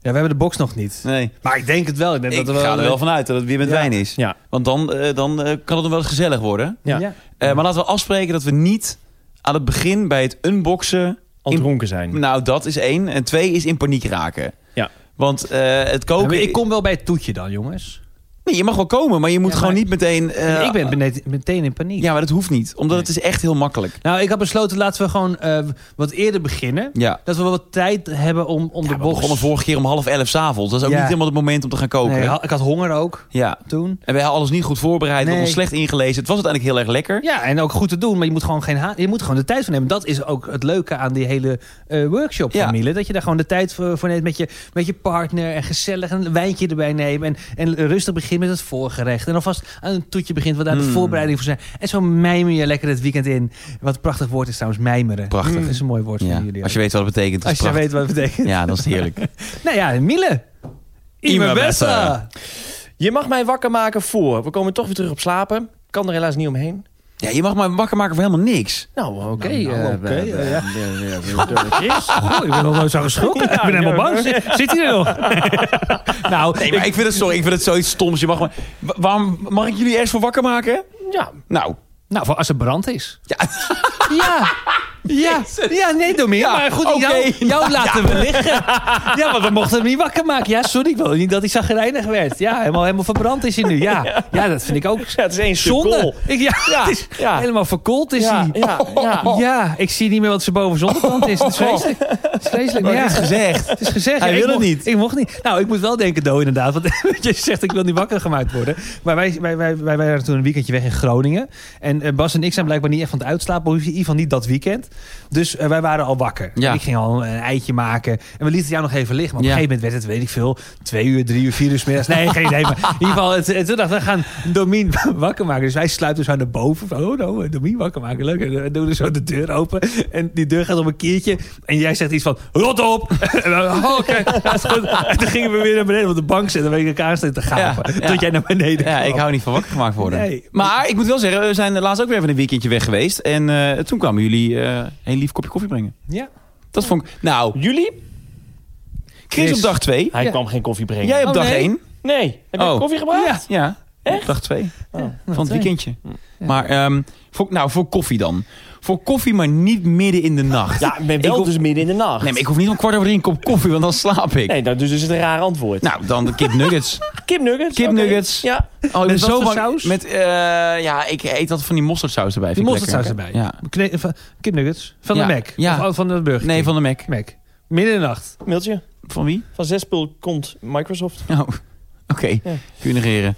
Speaker 2: Ja, we hebben de box nog niet.
Speaker 1: Nee.
Speaker 2: Maar ik denk het wel. Ik, denk
Speaker 1: Ik
Speaker 2: dat er wel,
Speaker 1: ga er wel vanuit dat het weer met
Speaker 2: Ja.
Speaker 1: wijn is.
Speaker 3: Ja.
Speaker 1: Want dan, eh, dan eh, kan het nog wel eens gezellig worden.
Speaker 3: Ja.
Speaker 2: Ja.
Speaker 1: Eh, maar laten we afspreken dat we niet aan het begin bij het unboxen...
Speaker 3: Al
Speaker 1: in-
Speaker 3: dronken zijn.
Speaker 1: nou, dat is één. En twee is in paniek raken.
Speaker 3: Ja.
Speaker 1: Want eh, het
Speaker 2: Ja,
Speaker 1: koken...
Speaker 2: maar ik kom wel bij het toetje dan, jongens.
Speaker 1: Nee, je mag wel komen, maar je moet
Speaker 2: Ja,
Speaker 1: gewoon
Speaker 2: maar-
Speaker 1: niet meteen... eh,
Speaker 2: ik ben benet- meteen in paniek.
Speaker 1: Ja, maar dat hoeft niet. Omdat
Speaker 2: Nee.
Speaker 1: het is echt heel makkelijk.
Speaker 2: Nou, ik had besloten, laten we gewoon eh, wat eerder beginnen.
Speaker 1: Ja.
Speaker 2: Dat we wat tijd hebben om, om de
Speaker 1: we
Speaker 2: box...
Speaker 1: begonnen vorige keer om half elf s'avonds. Dat is ook
Speaker 2: Ja.
Speaker 1: niet helemaal het moment om te gaan koken.
Speaker 2: Nee, ha- ik had honger ook
Speaker 1: Ja.
Speaker 2: toen.
Speaker 1: En wij hadden alles niet goed voorbereid,
Speaker 2: Nee.
Speaker 1: hadden ons slecht ingelezen. Het was uiteindelijk heel erg lekker.
Speaker 2: Ja, en ook goed te doen, maar je moet gewoon, geen ha- je moet gewoon de tijd voor nemen. Dat is ook het leuke aan die hele eh, workshop
Speaker 1: Ja.
Speaker 2: van Miele. Dat je daar gewoon de tijd voor, voor neemt met je, met je partner. En gezellig een wijntje erbij neemt. En, en rustig begint met het voorgerecht. En alvast aan een toetje begint, wat daar de
Speaker 1: Mm.
Speaker 2: voorbereiding voor zijn. En zo mijmer je lekker het weekend in. Wat een prachtig woord is trouwens, mijmeren.
Speaker 1: Prachtig.
Speaker 2: Dat is een mooi woord
Speaker 1: Ja.
Speaker 2: van jullie.
Speaker 1: Als je weet wat het betekent, is
Speaker 2: Als je
Speaker 1: prachtig.
Speaker 2: weet wat het betekent.
Speaker 1: Ja, dat is het heerlijk.
Speaker 2: Nou ja, Miele.
Speaker 1: Ima Bessa.
Speaker 2: Ah.
Speaker 3: Je mag mij wakker maken voor. We komen toch weer terug op slapen. Kan er helaas niet omheen.
Speaker 1: Ja, je mag maar wakker maken voor helemaal niks.
Speaker 3: Nou, oké.
Speaker 2: Nou, nou,
Speaker 3: eh,
Speaker 2: oké,
Speaker 3: we-
Speaker 2: ja,
Speaker 3: we-
Speaker 2: ja.
Speaker 3: we- we- Chris?
Speaker 2: Goh, ik ben nog nooit zo geschrokken. ik ben helemaal bang. Zit, zit hij er nog? nou,
Speaker 1: Nee, maar ik vind het, sorry, ik vind het zoiets stoms. Je mag maar, Wa- waarom mag ik jullie ergens voor wakker maken?
Speaker 3: Ja,
Speaker 1: Nou,
Speaker 2: nou, voor als er brand is.
Speaker 1: Ja.
Speaker 2: Ja. Ja. ja, nee, Domien.
Speaker 1: Ja,
Speaker 2: maar goed,
Speaker 1: oké.
Speaker 2: jou, jou laten we liggen. Ja, want we mochten hem niet wakker maken. Ja, sorry, ik wilde niet dat hij zagrijnig werd. Ja, helemaal, helemaal verbrand is hij nu. Ja, ja dat vind ik ook
Speaker 3: Ja, het is één stuk kool.
Speaker 2: zonde. Ik, ja,
Speaker 3: Ja,
Speaker 2: het is
Speaker 3: ja.
Speaker 2: helemaal verkoold is
Speaker 3: Ja,
Speaker 2: hij.
Speaker 3: ja, ja.
Speaker 2: Ja, ik zie niet meer wat ze boven zonnebrand is. Het is vreselijk. Het is vreselijk. Maar
Speaker 1: maar
Speaker 2: ja,
Speaker 1: het Oh. is gezegd.
Speaker 2: het is gezegd.
Speaker 1: Hij
Speaker 2: ja,
Speaker 1: wil
Speaker 2: ik
Speaker 1: het
Speaker 2: mocht-
Speaker 1: niet.
Speaker 2: Ik mocht niet. Nou, ik moet wel denken, Do, inderdaad. Want je zegt, ik wil niet wakker gemaakt worden. Maar wij, wij, wij, wij waren toen een weekendje weg in Groningen. En eh, Bas en ik zijn blijkbaar niet echt van het uitslapen. Of in ieder geval niet dat weekend. Dus eh, wij waren al wakker.
Speaker 1: Ja.
Speaker 2: Ik ging al een eitje maken. En we lieten jou nog even liggen. Maar op
Speaker 1: Ja.
Speaker 2: een gegeven moment werd het, weet ik veel, twee uur, drie uur, vier uur 's middags. Nee, geen idee. Maar in ieder geval, het, het, toen dachten we, we gaan Domien wakker maken. Dus wij sluiten zo naar boven. Van, oh, nou, Domien wakker maken. Leuk. En we doen dus zo de deur open. En die deur gaat op een keertje. En jij zegt iets van, rot op. En we, oh, oké. dat is goed. En toen gingen we weer naar beneden op de bank zitten. En we elkaar staan te gapen.
Speaker 1: Ja, ja.
Speaker 2: Tot jij naar beneden
Speaker 1: Ja,
Speaker 2: kwam.
Speaker 1: ik hou niet van wakker gemaakt worden.
Speaker 2: Nee.
Speaker 1: Maar ik moet wel zeggen, we zijn laatst ook weer even een weekendje weg geweest. En eh, toen kwamen jullie eh, een heel lief kopje koffie brengen.
Speaker 2: Ja.
Speaker 1: Dat vond ik... Nou,
Speaker 3: Jullie?
Speaker 1: Chris op dag twee.
Speaker 3: Hij
Speaker 2: Ja.
Speaker 3: kwam geen koffie brengen.
Speaker 1: Jij op
Speaker 2: Oh,
Speaker 1: dag
Speaker 2: nee.
Speaker 1: één.
Speaker 3: Nee. Heb je
Speaker 1: Oh.
Speaker 3: koffie gebracht?
Speaker 2: Ja.
Speaker 1: Ja,
Speaker 3: Echt?
Speaker 1: dag twee. van het
Speaker 2: twee.
Speaker 1: weekendje.
Speaker 2: Ja.
Speaker 1: Maar ehm, voor, nou, voor koffie dan. Voor koffie, maar niet midden in de nacht.
Speaker 3: Ja, ik ben wel
Speaker 1: Ik hoef-
Speaker 3: dus midden in de nacht.
Speaker 1: Nee, maar ik hoef niet om kwart over drie een kop koffie, want dan slaap ik.
Speaker 3: Nee, nou, dus is het een raar antwoord.
Speaker 1: Nou, dan de kipnuggets.
Speaker 3: kipnuggets.
Speaker 1: Kip
Speaker 3: oké.
Speaker 1: nuggets.
Speaker 3: Ja.
Speaker 1: Oh, ik ben
Speaker 2: Met wat
Speaker 1: zo
Speaker 2: voor
Speaker 1: bang.
Speaker 2: saus?
Speaker 1: Met, eh, ja, ik eet dat van die mosterdsaus erbij.
Speaker 2: Die
Speaker 1: Vind ik lekker.
Speaker 2: mosterdsaus erbij.
Speaker 1: Ja.
Speaker 2: Kne- eh, van- Kipnuggets. Van
Speaker 1: Ja.
Speaker 2: de Mac.
Speaker 1: Ja.
Speaker 2: Of van de Burger
Speaker 1: Nee,
Speaker 2: King.
Speaker 1: van de Mac.
Speaker 2: Mac. Midden in de nacht.
Speaker 3: Mailtje.
Speaker 1: Van wie?
Speaker 3: Van Zespul komt Microsoft.
Speaker 1: Oh, oké.
Speaker 3: Ja.
Speaker 1: Kun je negeren.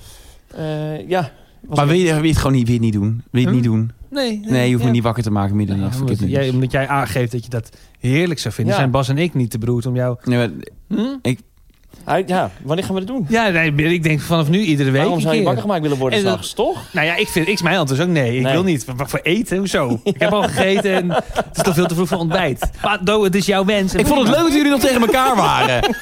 Speaker 3: Eh, ja. Was
Speaker 1: Maar
Speaker 3: het-
Speaker 1: wil je, wil je het gewoon niet, wil je het niet doen? Wil je het
Speaker 2: Hm?
Speaker 1: niet doen?
Speaker 2: Nee,
Speaker 1: Nee, je hoeft me niet wakker te maken midden in de nacht voor
Speaker 2: omdat, jij,
Speaker 1: kipnuggets.
Speaker 2: omdat jij aangeeft dat je dat heerlijk zou vinden,
Speaker 3: Ja.
Speaker 2: zijn Bas en ik niet te beroerd om jou.
Speaker 1: Nee, maar,
Speaker 2: Hm?
Speaker 3: Hij- ja, wanneer gaan we dat doen?
Speaker 2: Ja, nee, ik denk vanaf nu iedere week.
Speaker 3: Waarom
Speaker 2: een
Speaker 3: zou je
Speaker 2: keer.
Speaker 3: wakker gemaakt willen worden
Speaker 2: En dat-
Speaker 3: s'nachts, toch?
Speaker 2: Nou ja, ik vind, ik, mijn antwoord is ook nee. Ik
Speaker 3: Nee.
Speaker 2: wil niet. Voor, voor eten, hoezo? Ik heb al gegeten en het is toch veel te vroeg voor ontbijt. Maar Do, het is jouw wens. en
Speaker 1: ik vond het leuk
Speaker 2: prima.
Speaker 1: dat jullie nog tegen elkaar waren.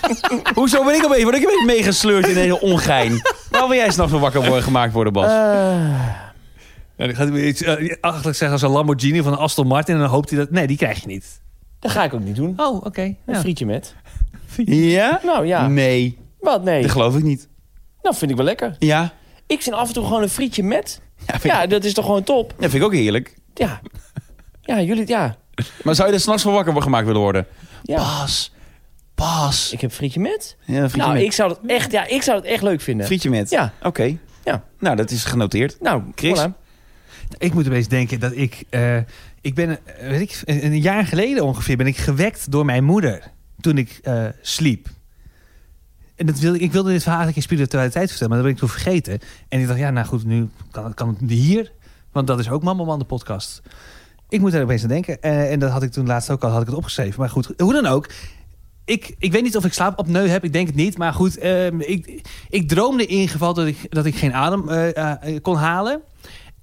Speaker 1: Hoezo ben ik opeens, word ik een beetje meegesleurd in een hele ongein? Waarom wil jij s'nachts wel wakker worden, gemaakt worden, Bas?
Speaker 2: Eh, Ja, dan gaat hij weer iets eh, achterlijk zeggen als een Lamborghini van een Aston Martin. En dan hoopt hij dat... Nee, die krijg je niet.
Speaker 3: Dat ga ik ook niet doen.
Speaker 2: Oh, oké.
Speaker 3: Een frietje met.
Speaker 1: ja?
Speaker 3: Nou ja.
Speaker 1: Nee,
Speaker 3: Wat? Nee.
Speaker 1: dat geloof ik niet.
Speaker 3: Nou, vind ik wel lekker.
Speaker 1: Ja?
Speaker 3: Ik vind af en toe gewoon een frietje met.
Speaker 1: Ja, vind,
Speaker 3: Ja,
Speaker 1: Ik,
Speaker 3: dat is toch gewoon top?
Speaker 1: ja, vind ik ook heerlijk.
Speaker 3: Ja. Ja, jullie, ja.
Speaker 1: Maar zou je er s'nachts van wakker gemaakt willen worden?
Speaker 3: ja.
Speaker 1: Bas. Bas.
Speaker 3: Ik heb frietje met.
Speaker 1: Ja, frietje
Speaker 3: nou,
Speaker 1: met.
Speaker 3: ik zou dat echt, ja, ik zou dat echt leuk vinden.
Speaker 1: Frietje met.
Speaker 3: Ja.
Speaker 1: Oké.
Speaker 3: Ja.
Speaker 1: Nou, dat is genoteerd.
Speaker 3: Nou,
Speaker 1: Chris?
Speaker 3: voilà.
Speaker 2: Ik moet opeens denken dat ik... eh, ik ben, eh, weet ik, een een jaar geleden ongeveer ben ik gewekt door mijn moeder. Toen ik eh, sliep. en dat wil, ik wilde dit verhaal eigenlijk in spiritualiteit vertellen, maar dat ben ik toen vergeten. En ik dacht, ja, nou goed, nu kan, het- kan het hier. Want dat is ook Mamma Man de podcast. Ik moet daar opeens aan denken. Eh, en dat had ik toen laatst ook al, had ik het opgeschreven. Maar goed, hoe dan ook. Ik, ik weet niet of ik slaapapneu heb, ik denk het niet. Maar goed, ehm, ik, ik droomde in ieder geval dat ik, dat ik geen adem eh, eh, kon halen.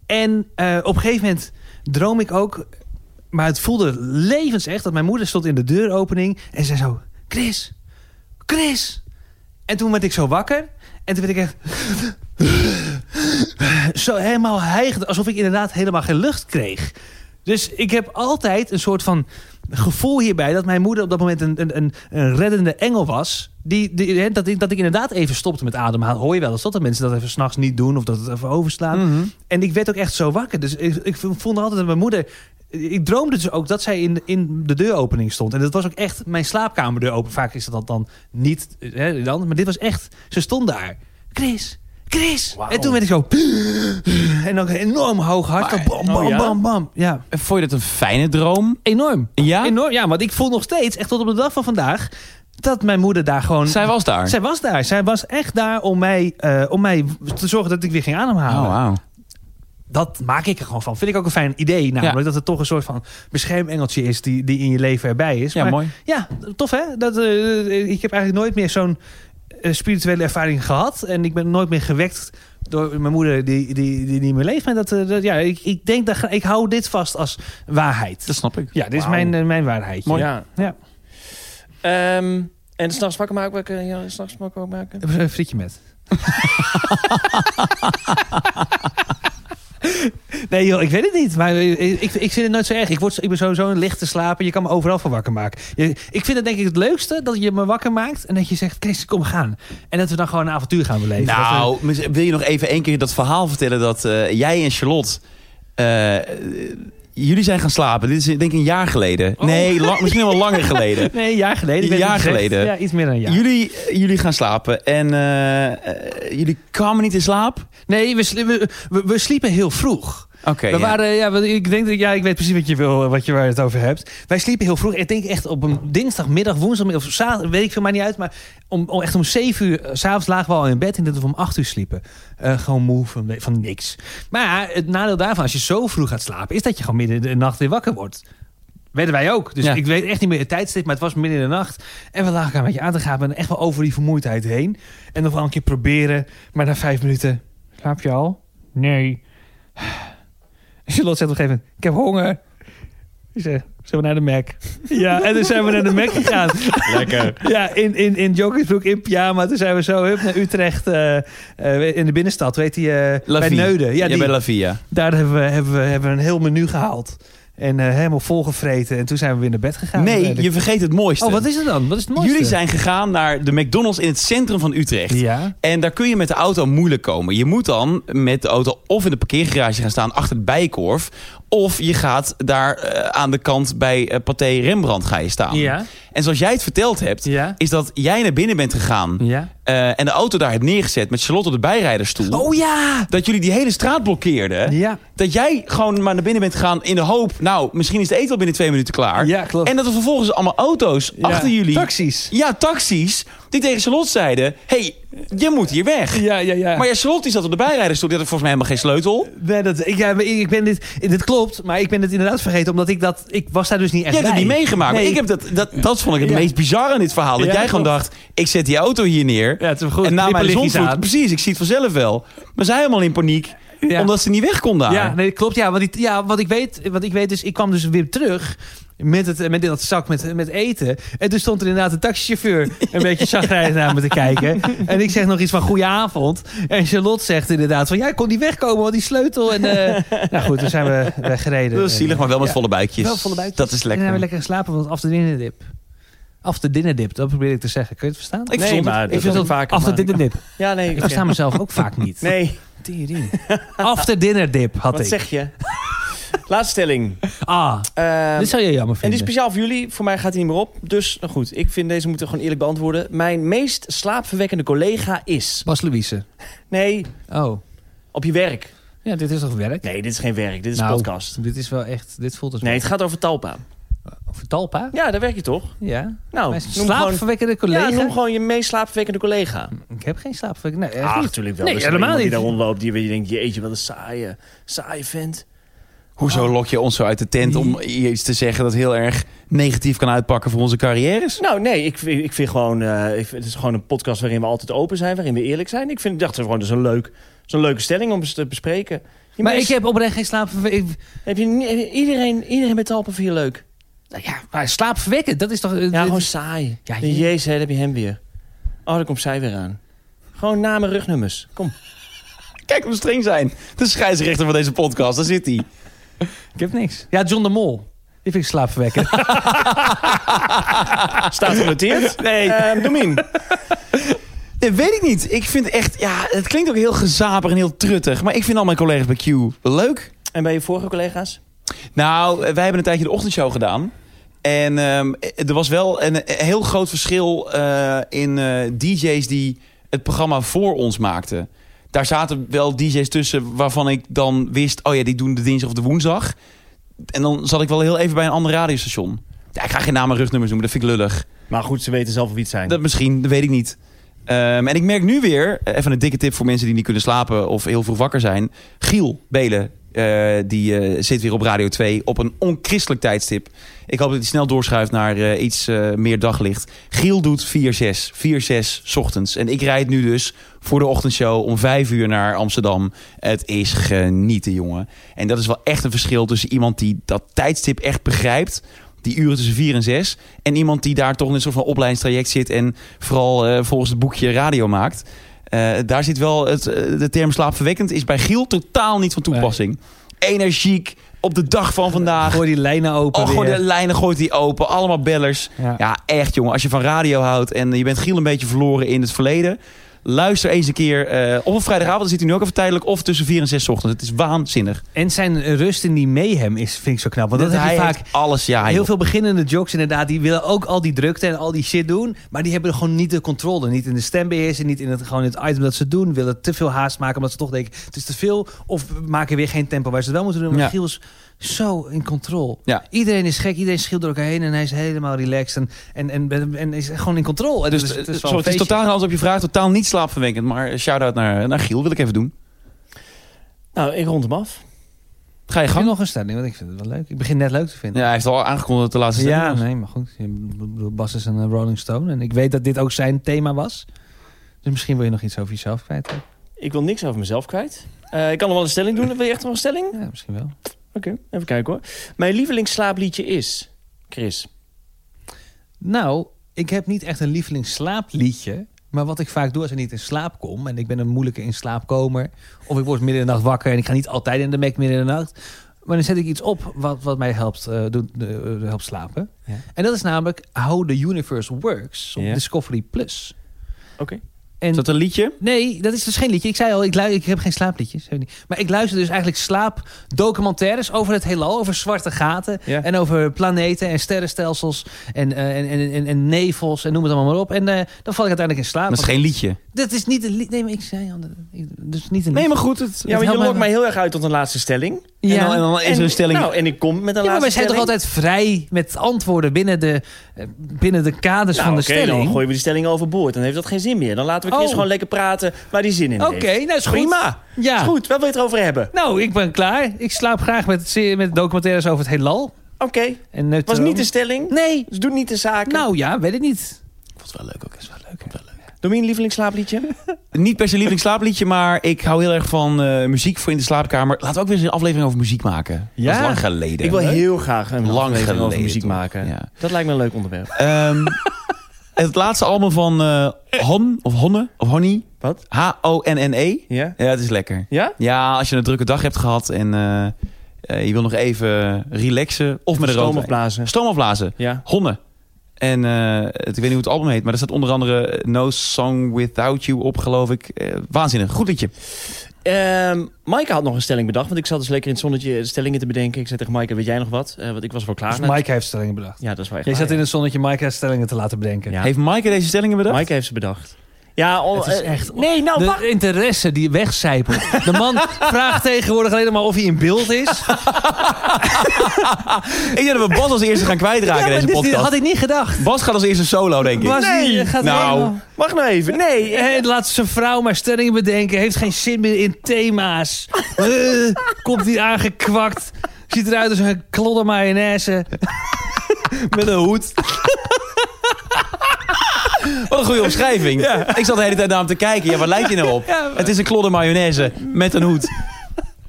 Speaker 2: En eh, op een gegeven moment droom ik ook... Maar het voelde levensecht dat mijn moeder stond in de deuropening... en zei zo, Chris, Chris. En toen werd ik zo wakker. En toen werd ik echt... zo helemaal hijgend. Alsof ik inderdaad helemaal geen lucht kreeg. Dus ik heb altijd een soort van gevoel hierbij... dat mijn moeder op dat moment een, een, een, een reddende engel was. Die, die, hè, dat, ik, dat ik inderdaad even stopte met ademhalen. Hoor je wel eens dat, dat mensen dat even s'nachts niet doen... of dat het even overslaan. En ik werd ook echt zo wakker. Dus ik, ik vond altijd dat mijn moeder... Ik droomde dus ook dat zij in, in de deuropening stond. En dat was ook echt mijn slaapkamerdeur open. Vaak is dat dan niet. Hè, dan, maar dit was echt... Ze stond daar. Chris, Chris. En toen werd ik zo... En dan enorm hoog hart.
Speaker 1: Maar-
Speaker 2: bam, bam,
Speaker 3: oh ja?
Speaker 2: bam, bam. Ja.
Speaker 1: En Vond je dat een fijne droom?
Speaker 2: Enorm.
Speaker 1: Ja?
Speaker 2: Enorm. Ja, want ik voel nog steeds, echt tot op de dag van vandaag... dat mijn moeder daar gewoon...
Speaker 1: Zij was daar.
Speaker 2: Zij was daar. Zij was echt daar om mij, eh, om mij te zorgen dat ik weer ging ademhalen
Speaker 1: Oh, wauw.
Speaker 2: dat maak ik er gewoon van. Vind ik ook een fijn idee. Namelijk
Speaker 1: Ja.
Speaker 2: dat het toch een soort van beschermengeltje is die, die in je leven erbij is.
Speaker 1: Ja,
Speaker 2: Maar
Speaker 1: mooi.
Speaker 2: Ja, tof hè? Dat, eh, ik heb eigenlijk nooit meer zo'n eh, spirituele ervaring gehad. En ik ben nooit meer gewekt door mijn moeder die, die, die niet meer leeft. Maar dat, eh, dat, ja, ik, ik denk dat ik hou dit vast als waarheid.
Speaker 1: Dat snap ik.
Speaker 2: ja, dit is
Speaker 3: Wauw.
Speaker 2: mijn, eh, mijn waarheid.
Speaker 3: Mooi.
Speaker 2: Ja.
Speaker 3: Ja.
Speaker 2: ja.
Speaker 3: Ehm, en s'nachts wakker maken. wakker- Ja, s'nachts wakker maken.
Speaker 2: Even een frietje met. nee joh, ik weet het niet. Maar eh, ik, ik vind het nooit zo erg. Ik, word, zo- ik ben sowieso een lichte slaper. Je kan me overal van wakker maken. Je- ik vind het denk ik het leukste dat je me wakker maakt. En dat je zegt, Chris, kom we gaan. En dat we dan gewoon een avontuur gaan beleven. Dat
Speaker 1: Nou, mis- wil je nog even één keer dat verhaal vertellen dat eh, jij en Charlotte... eh, eh, jullie zijn gaan slapen. Dit is denk ik een jaar geleden. Nee, lang- misschien wel langer geleden.
Speaker 2: we- nee, een jaar geleden. ik
Speaker 1: Een
Speaker 2: weet
Speaker 1: jaar
Speaker 2: het niet
Speaker 1: geleden.
Speaker 2: Ja, iets meer dan een jaar.
Speaker 1: Jullie, eh, jullie gaan slapen en eh, eh, jullie kwamen niet in slaap.
Speaker 2: Nee, we, sli- we, we, we sliepen heel vroeg.
Speaker 1: Oké. ja.
Speaker 2: we waren, ja, want ik denk dat, ja, ik weet precies wat je wil, wat je waar je het over hebt. Wij sliepen heel vroeg. Ik denk echt op een dinsdagmiddag, woensdagmiddag of zaterdag, weet ik veel maar niet uit. Maar om, om echt om 7 uur, eh, s'avonds lagen we al in bed. En dat we om 8 uur sliepen. Eh, gewoon moe van, van niks. Maar het nadeel daarvan, als je zo vroeg gaat slapen, is dat je gewoon midden in de nacht weer wakker wordt. Werden wij ook. Dus
Speaker 1: Ja.
Speaker 2: ik weet echt niet meer het tijdstip, maar het was midden in de nacht. En we lagen elkaar een beetje aan te gaan. En echt wel over die vermoeidheid heen. En nog wel een keer proberen. Maar na vijf minuten... Slaap je al? Nee. Charlotte zegt op een gegeven moment... Ik heb honger. Ik zeg, zullen we naar de Mac? Ja, en toen zijn we naar de Mac gegaan.
Speaker 1: Lekker.
Speaker 2: Ja, in, in, in joggingsbroek, in pyjama. Toen zijn we zo hup, naar Utrecht eh, eh, in de binnenstad. Weet die, eh,
Speaker 1: La
Speaker 2: bij
Speaker 1: Vie.
Speaker 2: Neuden. Ja,
Speaker 1: Jij
Speaker 2: die,
Speaker 1: bent La Via.
Speaker 2: daar hebben we, hebben, we, hebben we een heel menu gehaald. En eh, helemaal volgevreten. En toen zijn we weer naar bed gegaan.
Speaker 1: Nee,
Speaker 2: Eh, de-
Speaker 1: je vergeet het mooiste.
Speaker 2: Oh, wat is het dan? Wat is het mooiste?
Speaker 1: Jullie zijn gegaan naar de McDonald's in het centrum van Utrecht.
Speaker 2: Ja.
Speaker 1: En daar kun je met de auto moeilijk komen. Je moet dan met de auto of in de parkeergarage gaan staan achter de bijenkorf. Of je gaat daar eh, aan de kant bij eh, Pathé Rembrandt ga je staan.
Speaker 2: Ja.
Speaker 1: En zoals jij het verteld hebt,
Speaker 2: Ja.
Speaker 1: is dat jij naar binnen bent gegaan.
Speaker 2: Ja.
Speaker 1: eh, en de auto daar hebt neergezet met Charlotte op de bijrijderstoel.
Speaker 2: Oh ja!
Speaker 1: Dat jullie die hele straat blokkeerden.
Speaker 2: Ja.
Speaker 1: Dat jij gewoon maar naar binnen bent gegaan in de hoop... nou, misschien is de eten al binnen twee minuten klaar.
Speaker 2: Ja, klopt.
Speaker 1: En dat er vervolgens allemaal auto's
Speaker 2: Ja.
Speaker 1: achter jullie...
Speaker 2: Taxis.
Speaker 1: Ja, taxis. Die tegen Charlotte zeiden... hey, je moet hier weg.
Speaker 2: Ja, ja, ja.
Speaker 1: Maar ja, Charlotte die zat op de bijrijderstoel. Die had volgens mij helemaal geen sleutel.
Speaker 2: Nee, dat, ik, ja, maar ik ben dit, dit klopt, maar ik ben het inderdaad vergeten. Omdat ik dat... Ik was daar dus niet echt
Speaker 1: Jij hebt het
Speaker 2: bij.
Speaker 1: niet meegemaakt.
Speaker 2: Nee.
Speaker 1: Maar ik heb dat, dat, dat vond ik het
Speaker 2: Ja.
Speaker 1: meest bizarre in dit verhaal. Dat
Speaker 2: Ja,
Speaker 1: jij
Speaker 2: dat
Speaker 1: gewoon dacht... ik zet die auto hier neer.
Speaker 2: Ja, het is goed.
Speaker 1: en na mijn
Speaker 2: Knipperlichtjes
Speaker 1: zonvloed... Precies, ik zie het vanzelf wel. Maar zij helemaal in paniek...
Speaker 2: Ja.
Speaker 1: omdat ze niet weg kon daar.
Speaker 2: Ja, nee, klopt. Ja, want ik, ja, wat ik weet, wat ik weet is, ik kwam dus weer terug met, het, met dat zak met, met eten. En toen stond er inderdaad een taxichauffeur een beetje chagrijnig naar me te kijken. En ik zeg nog iets van goedenavond. En Charlotte zegt inderdaad van, ja, ik kon niet wegkomen, want die sleutel. En eh, nou goed, toen zijn we weggereden.
Speaker 1: Dat is zielig, maar wel met volle buikjes.
Speaker 2: Wel volle buikjes.
Speaker 1: Dat is
Speaker 2: En
Speaker 1: lekker.
Speaker 2: dan hebben we lekker geslapen, want af de dinnerdip. Af de dinnerdip, dat probeer ik te zeggen. Kun je het verstaan?
Speaker 1: Ik verstond het.
Speaker 3: maar
Speaker 1: Ik
Speaker 3: dat
Speaker 1: verstond
Speaker 3: ook vaker.
Speaker 2: Af de
Speaker 3: maar-
Speaker 2: dinnerdip.
Speaker 3: Ja, nee.
Speaker 2: Ik versta mezelf ook vaak niet.
Speaker 3: Nee,
Speaker 2: Tering. After dinner dip had
Speaker 3: wat
Speaker 2: ik.
Speaker 3: zeg je? Laatste stelling.
Speaker 2: Ah,
Speaker 3: Ehm,
Speaker 2: dit zou je jammer
Speaker 3: en die
Speaker 2: vinden.
Speaker 3: is speciaal voor jullie. Voor mij gaat hij niet meer op. Dus nou goed, ik vind deze moeten we gewoon eerlijk beantwoorden. Mijn meest slaapverwekkende collega is...
Speaker 2: Bas Louise.
Speaker 3: Nee,
Speaker 2: Oh.
Speaker 3: op je werk.
Speaker 2: Ja, dit is toch werk?
Speaker 3: Nee, dit is geen werk. Dit is
Speaker 2: Nou,
Speaker 3: een podcast.
Speaker 2: Dit is wel echt... Dit voelt als
Speaker 3: Nee, het gaat over Talpa.
Speaker 2: Over Talpa?
Speaker 3: Ja, daar werk je toch?
Speaker 2: Ja.
Speaker 3: Nou,
Speaker 2: Mijn
Speaker 3: noem gewoon,
Speaker 2: slaapverwekkende
Speaker 3: ja,
Speaker 2: collega?
Speaker 3: noem gewoon je meest slaapverwekkende collega.
Speaker 2: Ik heb geen slaapverwekkende. Nee, echt
Speaker 3: Ah,
Speaker 2: niet.
Speaker 3: natuurlijk wel.
Speaker 2: Nee,
Speaker 3: Er is
Speaker 2: helemaal
Speaker 3: iemand
Speaker 2: niet.
Speaker 3: Die daar rondloopt, die, die denkt, jeetje, wat een saaie, saaie vent.
Speaker 1: Hoezo lok je ons zo uit de tent om iets te zeggen dat heel erg negatief kan uitpakken voor onze carrières?
Speaker 3: Nou, nee, ik, vind- ik vind gewoon, eh, ik, vind- het is gewoon een podcast waarin we altijd open zijn, waarin we eerlijk zijn. Ik vind, ik dacht gewoon, dat is een, leuk, zo'n leuke stelling om eens te bespreken. Je
Speaker 2: Maar ik
Speaker 3: meest-
Speaker 2: heb oprecht geen slaapverwekkende...
Speaker 3: heb je, niet- heb je- iedereen, iedereen met Talpa vind je leuk.
Speaker 2: Nou ja, maar slaapverwekkend, dat is toch...
Speaker 3: Ja, gewoon saai.
Speaker 2: Ja,
Speaker 3: je...
Speaker 2: je-
Speaker 3: Jezus, hè, daar heb je hem weer. Oh, daar komt zij weer aan. Gewoon namen, rugnummers. Kom.
Speaker 1: Kijk hoe streng zijn. De scheidsrechter van deze podcast, daar zit hij.
Speaker 2: Ik heb niks. Ja, John de Mol. Die vind ik slaapverwekkend.
Speaker 3: Staat genoteerd? Ehm, Nee. doe hem in.
Speaker 1: Nee, weet ik niet. Ik vind echt, ja, het klinkt ook heel gezapig en heel truttig. Maar ik vind al mijn collega's bij Q leuk.
Speaker 3: En bij je vorige collega's?
Speaker 1: Nou, eh, wij hebben een tijdje de ochtendshow gedaan. En ehm, eh, er was wel een, een heel groot verschil eh, in eh, DJ's die het programma voor ons maakten. Daar zaten wel DJ's tussen waarvan ik dan wist: oh ja, die doen de dinsdag of de woensdag. En dan zat ik wel heel even bij een ander radiostation. Ja, ik ga geen namen en rugnummers noemen, dat vind ik lullig.
Speaker 3: Maar goed, ze weten zelf wie het zijn.
Speaker 1: Dat misschien, dat weet ik niet. Ehm, en ik merk nu weer, eh, even een dikke tip voor mensen die niet kunnen slapen of heel vroeg wakker zijn. Giel Belen, eh, die eh, zit weer op Radio 2 op een onchristelijk tijdstip. Ik hoop dat hij snel doorschuift naar eh, iets eh, meer daglicht. Giel doet 4-6, 4-6 's ochtends. En ik rijd nu dus voor de ochtendshow om 5 uur naar Amsterdam. Het is genieten, jongen. En dat is wel echt een verschil tussen iemand die dat tijdstip echt begrijpt die uren tussen vier en zes. En iemand die daar toch in een soort van opleidingstraject zit en vooral eh, volgens het boekje radio maakt. Eh, daar zit wel het, eh, de term slaapverwekkend is bij Giel totaal niet van toepassing. Energiek, op de dag van vandaag.
Speaker 2: Gooi die lijnen open
Speaker 1: Oh, gooi
Speaker 2: weer.
Speaker 1: de lijnen gooit hij open, allemaal bellers.
Speaker 2: Ja.
Speaker 1: Ja. echt jongen, als je van radio houdt en je bent Giel een beetje verloren in het verleden. Luister eens een keer eh, of op vrijdagavond, dan zit hij nu ook even tijdelijk, of tussen vier en zes ochtends. Het is waanzinnig.
Speaker 2: En zijn rust in die mayhem is, vind ik zo knap. Want dat, heb
Speaker 1: hij
Speaker 2: je vaak...
Speaker 1: heeft alles, ja.
Speaker 2: Heel
Speaker 1: Ah, joh.
Speaker 2: veel beginnende jocks inderdaad, die willen ook al die drukte en al die shit doen. Maar die hebben gewoon niet de controle. Niet in de stembeheersing, niet in het, gewoon in het item dat ze doen. Willen te veel haast maken omdat ze toch denken, het is te veel. Of we maken weer geen tempo waar ze het wel moeten doen. Maar
Speaker 1: Ja.
Speaker 2: Giel is zo in controle.
Speaker 1: Ja.
Speaker 2: Iedereen is gek, iedereen schielt door elkaar heen. En hij is helemaal relaxed en, en, en, en, is gewoon in controle. En
Speaker 1: Dus
Speaker 2: dat
Speaker 1: het is,
Speaker 2: wel een
Speaker 1: het is
Speaker 2: feestje.
Speaker 1: totaal een antwoord op je vraag. Totaal niet slaapverwekkend. Maar shout-out naar, naar Giel wil ik even doen.
Speaker 3: Nou, ik rond hem af.
Speaker 1: Ga je
Speaker 2: Ik heb
Speaker 1: gang.
Speaker 2: nog een stelling, want ik vind het wel leuk. Ik begin net leuk te vinden.
Speaker 1: Ja, hij heeft al aangekondigd dat de laatste stelling
Speaker 2: Ja,
Speaker 1: was.
Speaker 2: nee, maar goed. Ik bedoel, Bas is een eh, Rolling Stone. En ik weet dat dit ook zijn thema was. Dus misschien wil je nog iets over jezelf kwijt. hè?
Speaker 3: Ik wil niks over mezelf kwijt. Eh, ik kan nog wel een stelling doen. Wil je echt nog een stelling?
Speaker 2: Ja, misschien wel.
Speaker 3: Oké, even kijken hoor. Mijn lievelingsslaapliedje is... Chris.
Speaker 2: Nou, ik heb niet echt een lievelingsslaapliedje. Maar wat ik vaak doe als ik niet in slaap kom... en ik ben een moeilijke in slaapkomer... of ik word midden in de nacht wakker... en ik ga niet altijd in de mek midden in de nacht... maar dan zet ik iets op wat, wat mij helpt, eh, doet, eh, eh, helpt slapen.
Speaker 3: Ja.
Speaker 2: En dat is namelijk How the Universe Works op
Speaker 3: Ja.
Speaker 2: Discovery+. Plus.
Speaker 3: Oké.
Speaker 2: En
Speaker 1: Is dat een liedje?
Speaker 2: Nee, dat is dus geen liedje. Ik zei al, ik, lu- ik heb geen slaapliedjes. Heb ik niet. Maar ik luister dus eigenlijk slaapdocumentaires over het heelal. Over zwarte gaten
Speaker 3: Ja.
Speaker 2: en over planeten en sterrenstelsels en, eh, en, en, en, en nevels en noem het allemaal maar op. En eh, dan val ik uiteindelijk in slaap.
Speaker 1: Dat is
Speaker 2: Want
Speaker 1: geen liedje.
Speaker 2: Dat is niet een lied. Nee, maar ik zei al, dat- ik- dat is niet een lied.
Speaker 1: Nee, maar goed. Het,
Speaker 3: Ja,
Speaker 2: Het
Speaker 3: maar
Speaker 2: helpt
Speaker 3: je
Speaker 2: mij
Speaker 3: lokt
Speaker 2: wel.
Speaker 3: mij heel erg uit tot een laatste stelling.
Speaker 2: Ja.
Speaker 1: En, dan, en dan is er
Speaker 3: En-
Speaker 1: een stelling.
Speaker 3: Nou, en ik kom met een
Speaker 2: Ja, maar wij
Speaker 3: laatste
Speaker 2: zijn toch
Speaker 3: stelling.
Speaker 2: altijd vrij met antwoorden binnen de, eh, binnen de kaders
Speaker 3: Nou,
Speaker 2: van de
Speaker 3: oké,
Speaker 2: stelling.
Speaker 3: dan gooien we die stelling overboord. Dan heeft dat geen zin meer. Dan laten we
Speaker 2: Oh.
Speaker 3: Chris gewoon lekker praten waar hij zin in
Speaker 2: Oké,
Speaker 3: heeft.
Speaker 2: nou is goed.
Speaker 3: Prima.
Speaker 2: Ja.
Speaker 3: Is goed, wat wil je het over hebben?
Speaker 2: Nou, ik ben klaar. Ik slaap graag met, se- met documentaires over het heelal.
Speaker 3: Oké,
Speaker 2: En neutronen.
Speaker 3: was niet de stelling.
Speaker 2: Nee.
Speaker 3: Dus doet niet de zaken.
Speaker 2: Nou ja, weet ik niet.
Speaker 1: vond het wel leuk ook. Is wel leuk.
Speaker 3: Doe je een lievelingsslaapliedje?
Speaker 1: Niet per se lievelingsslaapliedje, maar ik hou heel erg van eh, muziek voor in de slaapkamer. Laten we ook weer eens een aflevering over muziek maken.
Speaker 2: Ja.
Speaker 1: Dat is lang geleden.
Speaker 3: ik wil heel graag een
Speaker 1: Lang
Speaker 3: aflevering over
Speaker 1: geleden,
Speaker 3: muziek
Speaker 1: toch?
Speaker 3: maken.
Speaker 1: Ja.
Speaker 3: Dat lijkt me een leuk onderwerp.
Speaker 1: Ehm, het laatste album van eh, Hon of Honne of Honey.
Speaker 3: Wat?
Speaker 1: H-O-N-N-E.
Speaker 3: Ja?
Speaker 1: E. Ja, het is lekker.
Speaker 3: Ja?
Speaker 1: Ja, als je een drukke dag hebt gehad en eh, eh, je wil nog even relaxen. Of met een
Speaker 3: Stoom
Speaker 1: rood wijn.
Speaker 3: opblazen.
Speaker 1: Stoom afblazen.
Speaker 3: Ja.
Speaker 1: Honnen. En eh, het- ik weet niet hoe het album heet, maar er staat onder andere No Song Without You op, geloof ik. Eh, waanzinnig. Goed liedje.
Speaker 3: Ehm Maaike had nog een stelling bedacht. Want ik zat dus lekker in het zonnetje de stellingen te bedenken. Ik zei tegen Maaike, weet jij nog wat? Eh, want ik was wel klaar.
Speaker 2: Dus Mike heeft stellingen bedacht. Ah,
Speaker 3: Ja, dat is wel echt
Speaker 2: Jij
Speaker 3: waar,
Speaker 2: zat in het zonnetje Mike heeft stellingen te laten bedenken.
Speaker 3: Ja.
Speaker 1: Heeft Maaike deze stellingen bedacht?
Speaker 3: Mike heeft ze bedacht. Ja, on-
Speaker 2: Het is
Speaker 3: eh,
Speaker 2: echt-
Speaker 3: Nee, nou, wacht.
Speaker 2: De interesse die wegcijpelt. De man vraagt tegenwoordig alleen maar of hij in beeld is.
Speaker 1: Ik denk dat we Bas als eerste gaan kwijtraken in
Speaker 2: Ja, maar
Speaker 1: deze
Speaker 2: dit- dit
Speaker 1: podcast.
Speaker 2: had ik niet gedacht.
Speaker 1: Bas gaat als eerste solo, denk ik.
Speaker 2: Bas, die-
Speaker 3: Nee,
Speaker 2: die gaat
Speaker 1: nou.
Speaker 2: helemaal-
Speaker 3: Wacht nou even. Nee, eh,
Speaker 2: Hé, laat zijn vrouw maar stellingen bedenken. Heeft geen zin meer in thema's. Eh, komt hier aangekwakt. Ziet eruit als een klodder mayonaise.
Speaker 1: Met een hoed. Wat een goede omschrijving. Ik zat de hele tijd naar hem te kijken. Ja, wat lijkt je nou op? Het is een klodder mayonaise met een hoed.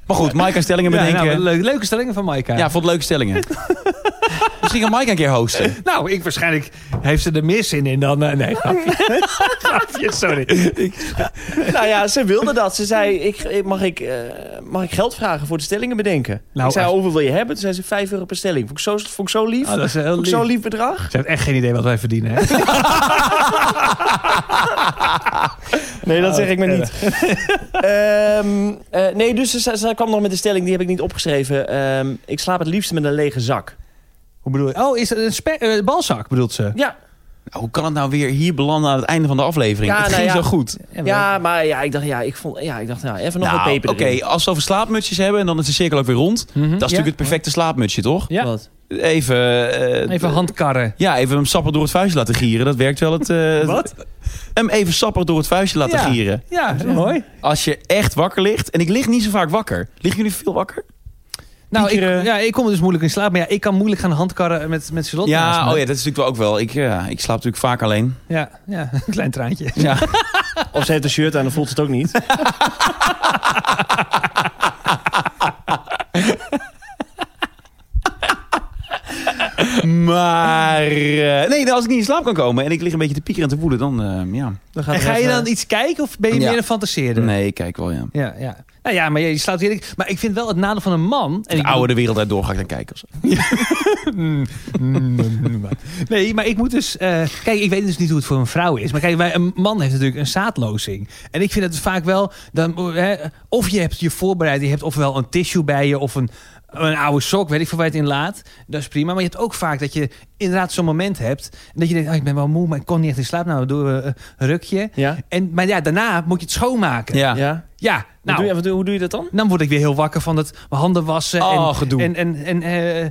Speaker 1: Maar goed, Mike kan stellingen
Speaker 2: Ja,
Speaker 1: bedenken.
Speaker 2: nou,
Speaker 1: Ja,
Speaker 2: leuk, leuke stellingen van Maika.
Speaker 1: vond leuke stellingen. Misschien kan Mike een keer hosten.
Speaker 2: Nou, ik waarschijnlijk heeft ze er meer zin in dan... eh, nee, grapje. grapje, sorry.
Speaker 3: nou ja, ze wilde dat. Ze zei, ik, ik- mag, ik, eh, mag ik geld vragen voor de stellingen bedenken?
Speaker 2: Nou,
Speaker 3: ik zei,
Speaker 2: als-
Speaker 3: hoeveel wil je hebben? Toen zei ze 5 euro per stelling. Vond ik zo, vond ik zo lief.
Speaker 2: Oh, dat is heel
Speaker 3: vond ik zo'n
Speaker 2: lief.
Speaker 3: lief bedrag.
Speaker 2: Ze heeft echt geen idee wat wij verdienen, hè?
Speaker 3: Nee,
Speaker 2: Oh,
Speaker 3: dat zeg ik maar niet. Ehm, eh, nee, dus ze, ze kwam nog met een stelling, die heb ik niet opgeschreven. Ehm, ik slaap het liefst met een lege zak.
Speaker 2: Hoe bedoel je? Oh, is het een spe- eh, balzak, bedoelt ze?
Speaker 3: Ja,
Speaker 1: Nou, hoe kan het nou weer hier belanden aan het einde van de aflevering?
Speaker 3: Ja,
Speaker 1: het
Speaker 3: nou
Speaker 1: ging
Speaker 3: ja.
Speaker 1: zo goed.
Speaker 3: ja maar ja, ik dacht, ja, ik vond, ja, ik dacht nou, even nog wat
Speaker 1: Nou,
Speaker 3: peper
Speaker 1: oké,
Speaker 3: erin.
Speaker 1: als ze over slaapmutsjes hebben en dan is de cirkel ook weer rond. Dat is
Speaker 2: Mhm. Ja.
Speaker 1: natuurlijk het perfecte slaapmutsje, toch?
Speaker 2: Ja.
Speaker 3: Wat?
Speaker 1: Even, eh,
Speaker 2: Even handkarren.
Speaker 1: Ja, even hem sapper door het vuistje laten gieren. Dat werkt wel het... eh,
Speaker 2: Wat?
Speaker 1: Hem even sapper door het vuistje laten
Speaker 2: Ja.
Speaker 1: gieren.
Speaker 2: Ja, mooi.
Speaker 1: Als je echt wakker ligt... En ik lig niet zo vaak wakker. Liggen jullie veel wakker?
Speaker 2: Nou, ik,
Speaker 3: Pieter, eh,
Speaker 2: ja, ik kom dus moeilijk in slaap. Maar ja, ik kan moeilijk gaan handkarren met, met Charlotte.
Speaker 1: ja,
Speaker 2: naast
Speaker 1: oh
Speaker 2: me.
Speaker 1: ja, dat is natuurlijk wel ook wel. Ik, ja, ik slaap natuurlijk vaak alleen.
Speaker 2: Ja, ja, een klein traantje.
Speaker 1: Ja.
Speaker 3: Of ze heeft een shirt aan, dan voelt ze het ook niet.
Speaker 1: maar... eh, nee, als ik niet in slaap kan komen... en ik lig een beetje te piekeren en te woelen... dan eh, ja...
Speaker 3: Dan gaat
Speaker 2: En
Speaker 3: de
Speaker 2: ga
Speaker 3: rest
Speaker 2: je dan
Speaker 3: naar-
Speaker 2: iets kijken of ben je
Speaker 1: Ja.
Speaker 2: meer een fantaseerder?
Speaker 1: Nee, ik kijk wel, ja.
Speaker 2: Ja, ja. Nou ja, maar je slaat hier. Maar ik vind wel het nadeel van een man. En
Speaker 1: De
Speaker 2: ik
Speaker 1: oude de wereld uit door ga ik dan kijken. of zo.
Speaker 2: Nee, maar ik moet dus. eh, kijk, ik weet dus niet hoe het voor een vrouw is. Maar kijk, wij, een man heeft natuurlijk een zaadlozing. En ik vind het vaak wel. Dan, hè, of je hebt je voorbereid. Je hebt ofwel een tissue bij je. Of een, een oude sok. Weet ik veel waar je het in laat. Dat is prima. Maar je hebt ook vaak dat je inderdaad zo'n moment hebt. En dat je denkt, oh, ik ben wel moe. Maar ik kon niet echt in slaap. Nou, dan doen we eh, een rukje.
Speaker 3: Ja,
Speaker 2: En, maar ja, daarna moet je het schoonmaken.
Speaker 1: Ja.
Speaker 3: ja.
Speaker 2: Ja,
Speaker 3: Wat
Speaker 2: nou.
Speaker 3: doe je, wat doe- hoe doe je dat dan?
Speaker 2: dan word ik weer heel wakker van het mijn handen wassen.
Speaker 1: Oh,
Speaker 2: en,
Speaker 1: gedoe.
Speaker 2: En, en, en eh,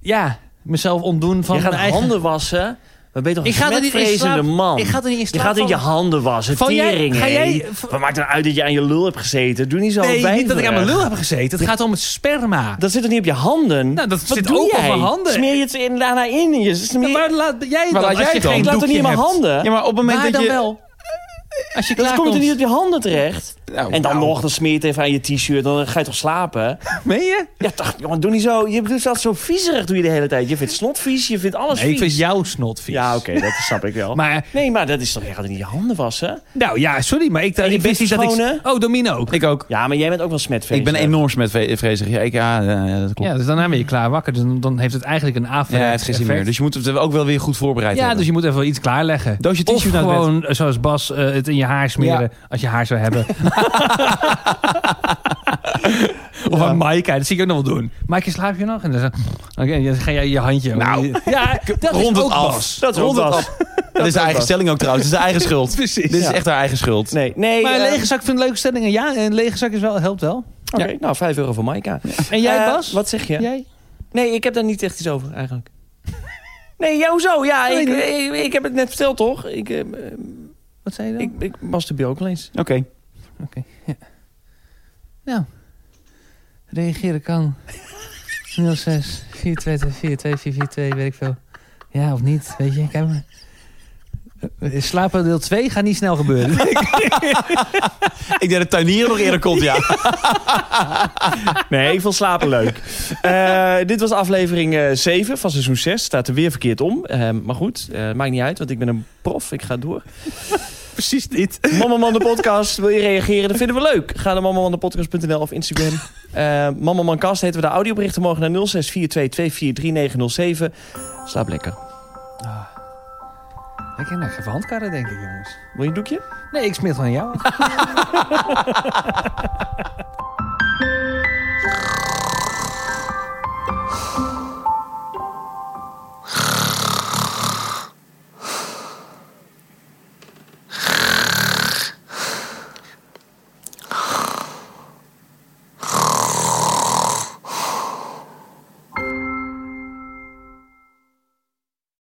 Speaker 2: ja, mezelf ontdoen van
Speaker 3: je gaat
Speaker 2: mijn eigen...
Speaker 3: handen wassen. Maar ben je toch
Speaker 2: Ik ga
Speaker 3: een
Speaker 2: er niet in
Speaker 3: smetvreezende
Speaker 2: slaap-
Speaker 3: man?
Speaker 2: ik ga er niet in
Speaker 3: je
Speaker 2: slaap
Speaker 3: gaat in je
Speaker 2: van.
Speaker 3: handen wassen,
Speaker 2: Van jij-
Speaker 3: tering.
Speaker 2: ga
Speaker 3: hé.
Speaker 2: jij-
Speaker 3: Wat maakt het uit dat je aan je lul hebt gezeten? Doe niet zo
Speaker 2: Nee,
Speaker 3: wijverig.
Speaker 2: niet dat ik aan mijn lul heb gezeten. Het gaat om het sperma.
Speaker 3: Dat zit toch niet op je handen?
Speaker 2: Nou, dat
Speaker 3: Wat
Speaker 2: zit
Speaker 3: doe
Speaker 2: ook op
Speaker 3: jij?
Speaker 2: mijn handen.
Speaker 3: Smeer je het in, daarna in je? Smeer...
Speaker 2: Maar laat jij
Speaker 1: Waar
Speaker 2: dan?
Speaker 1: laat
Speaker 2: als
Speaker 1: jij
Speaker 2: je
Speaker 1: het dan?
Speaker 2: geen
Speaker 3: ik laat het niet in mijn
Speaker 2: doekje hebt.
Speaker 3: handen.
Speaker 1: Ja, maar op het moment
Speaker 2: Maar
Speaker 1: dat
Speaker 2: dan
Speaker 1: je...
Speaker 2: wel. Als je
Speaker 3: Dan
Speaker 2: klaar
Speaker 3: komt
Speaker 2: komt.
Speaker 3: het niet op je handen terecht.
Speaker 1: Nou,
Speaker 2: Oh,
Speaker 3: en dan
Speaker 1: nou.
Speaker 3: nog, dan smeer je het even aan je t-shirt. Dan ga je toch slapen?
Speaker 2: Meen je?
Speaker 3: Ja, toch, jongen, doe niet zo. Je doet dat zo viezerig doe je de hele tijd. Je vindt snot vies, je vindt alles
Speaker 2: Nee, ik
Speaker 3: vies.
Speaker 2: vind jouw snot vies.
Speaker 3: Ja, oké, dat snap ik wel.
Speaker 2: Maar,
Speaker 3: Nee, maar dat is toch... Je gaat er niet je handen wassen?
Speaker 2: nou ja, sorry, maar ik,
Speaker 3: En je
Speaker 2: ik wist
Speaker 3: bent
Speaker 2: niet dat
Speaker 3: schoon,
Speaker 2: ik... Oh, Domino ook.
Speaker 1: Ik ook.
Speaker 3: Ja, maar jij bent ook wel smetvrees.
Speaker 1: Ik ben enorm smetvrezig. Ja, ik, ja, ja, ja, dat klopt.
Speaker 2: Ja, dus daarna ben je klaar wakker. Dus dan, dan heeft het eigenlijk een
Speaker 1: Ja,
Speaker 2: averechts
Speaker 1: hij heeft geen zin meer.
Speaker 2: effect.
Speaker 1: Dus je moet het ook wel weer goed voorbereid
Speaker 2: Ja,
Speaker 1: hebben.
Speaker 2: dus je moet even wel iets klaarleggen.
Speaker 1: Doosje
Speaker 2: Of
Speaker 1: tissue naar het bed.
Speaker 2: gewoon, eh, zoals Bas, eh, het in je haar smeren. Als je haar zou hebben. of aan Maaike, dat zie ik ook nog wel doen. Maaike, slaap je nog? En dan, zo- Oké, dan ga jij je handje...
Speaker 1: Nou,
Speaker 2: ja, dat
Speaker 1: rond
Speaker 2: is
Speaker 1: het
Speaker 2: ook
Speaker 1: af.
Speaker 2: Bas.
Speaker 3: Dat
Speaker 1: Rond
Speaker 3: rond
Speaker 1: het
Speaker 3: was.
Speaker 1: Dat is de eigen stelling ook trouwens. Het is de eigen schuld.
Speaker 2: Precies.
Speaker 1: Dit is
Speaker 3: Ja.
Speaker 1: echt haar eigen schuld.
Speaker 3: Nee, nee.
Speaker 2: Maar een
Speaker 3: eh,
Speaker 2: lege zak vindt een leuke stelling. En ja, een lege zak is wel, helpt wel.
Speaker 3: Oké, nou, 5 euro voor Maika.
Speaker 2: En jij,
Speaker 3: Eh,
Speaker 2: Bas?
Speaker 3: Wat zeg je?
Speaker 2: Jij?
Speaker 3: Nee, ik heb daar niet echt iets over eigenlijk. Nee, ja, hoezo? Ja, ik, ik, ik heb het net verteld, toch? Ik, eh,
Speaker 2: Wat zei je dan?
Speaker 3: ik, ik masturbeer ook wel eens.
Speaker 1: Oké.
Speaker 2: Nou, reageren kan. 06 422 42442, weet ik veel. Ja, of niet, weet je. Kijk maar. Eh, Slapen deel 2 gaat niet snel gebeuren.
Speaker 1: Ik denk dat tuinier nog eerder komt, ja.
Speaker 3: Nee, ik vond slapen leuk. Eh, dit was aflevering eh, 7 van seizoen 6. Staat er weer verkeerd om. Eh, maar goed, eh, maakt niet uit, want ik ben een prof. Ik ga door.
Speaker 2: Precies niet.
Speaker 3: Mama Man de Podcast, wil je reageren? Dat vinden we leuk. Ga naar mamamandepodcast.nl of Instagram. Eh Mama Man Cast heten we de audioberichten mogen naar 0642243907. Slaap lekker.
Speaker 2: Ik heb nog even handkarren, denk ik, jongens.
Speaker 3: Wil je een doekje?
Speaker 2: Nee, ik smeer het gewoon aan jou.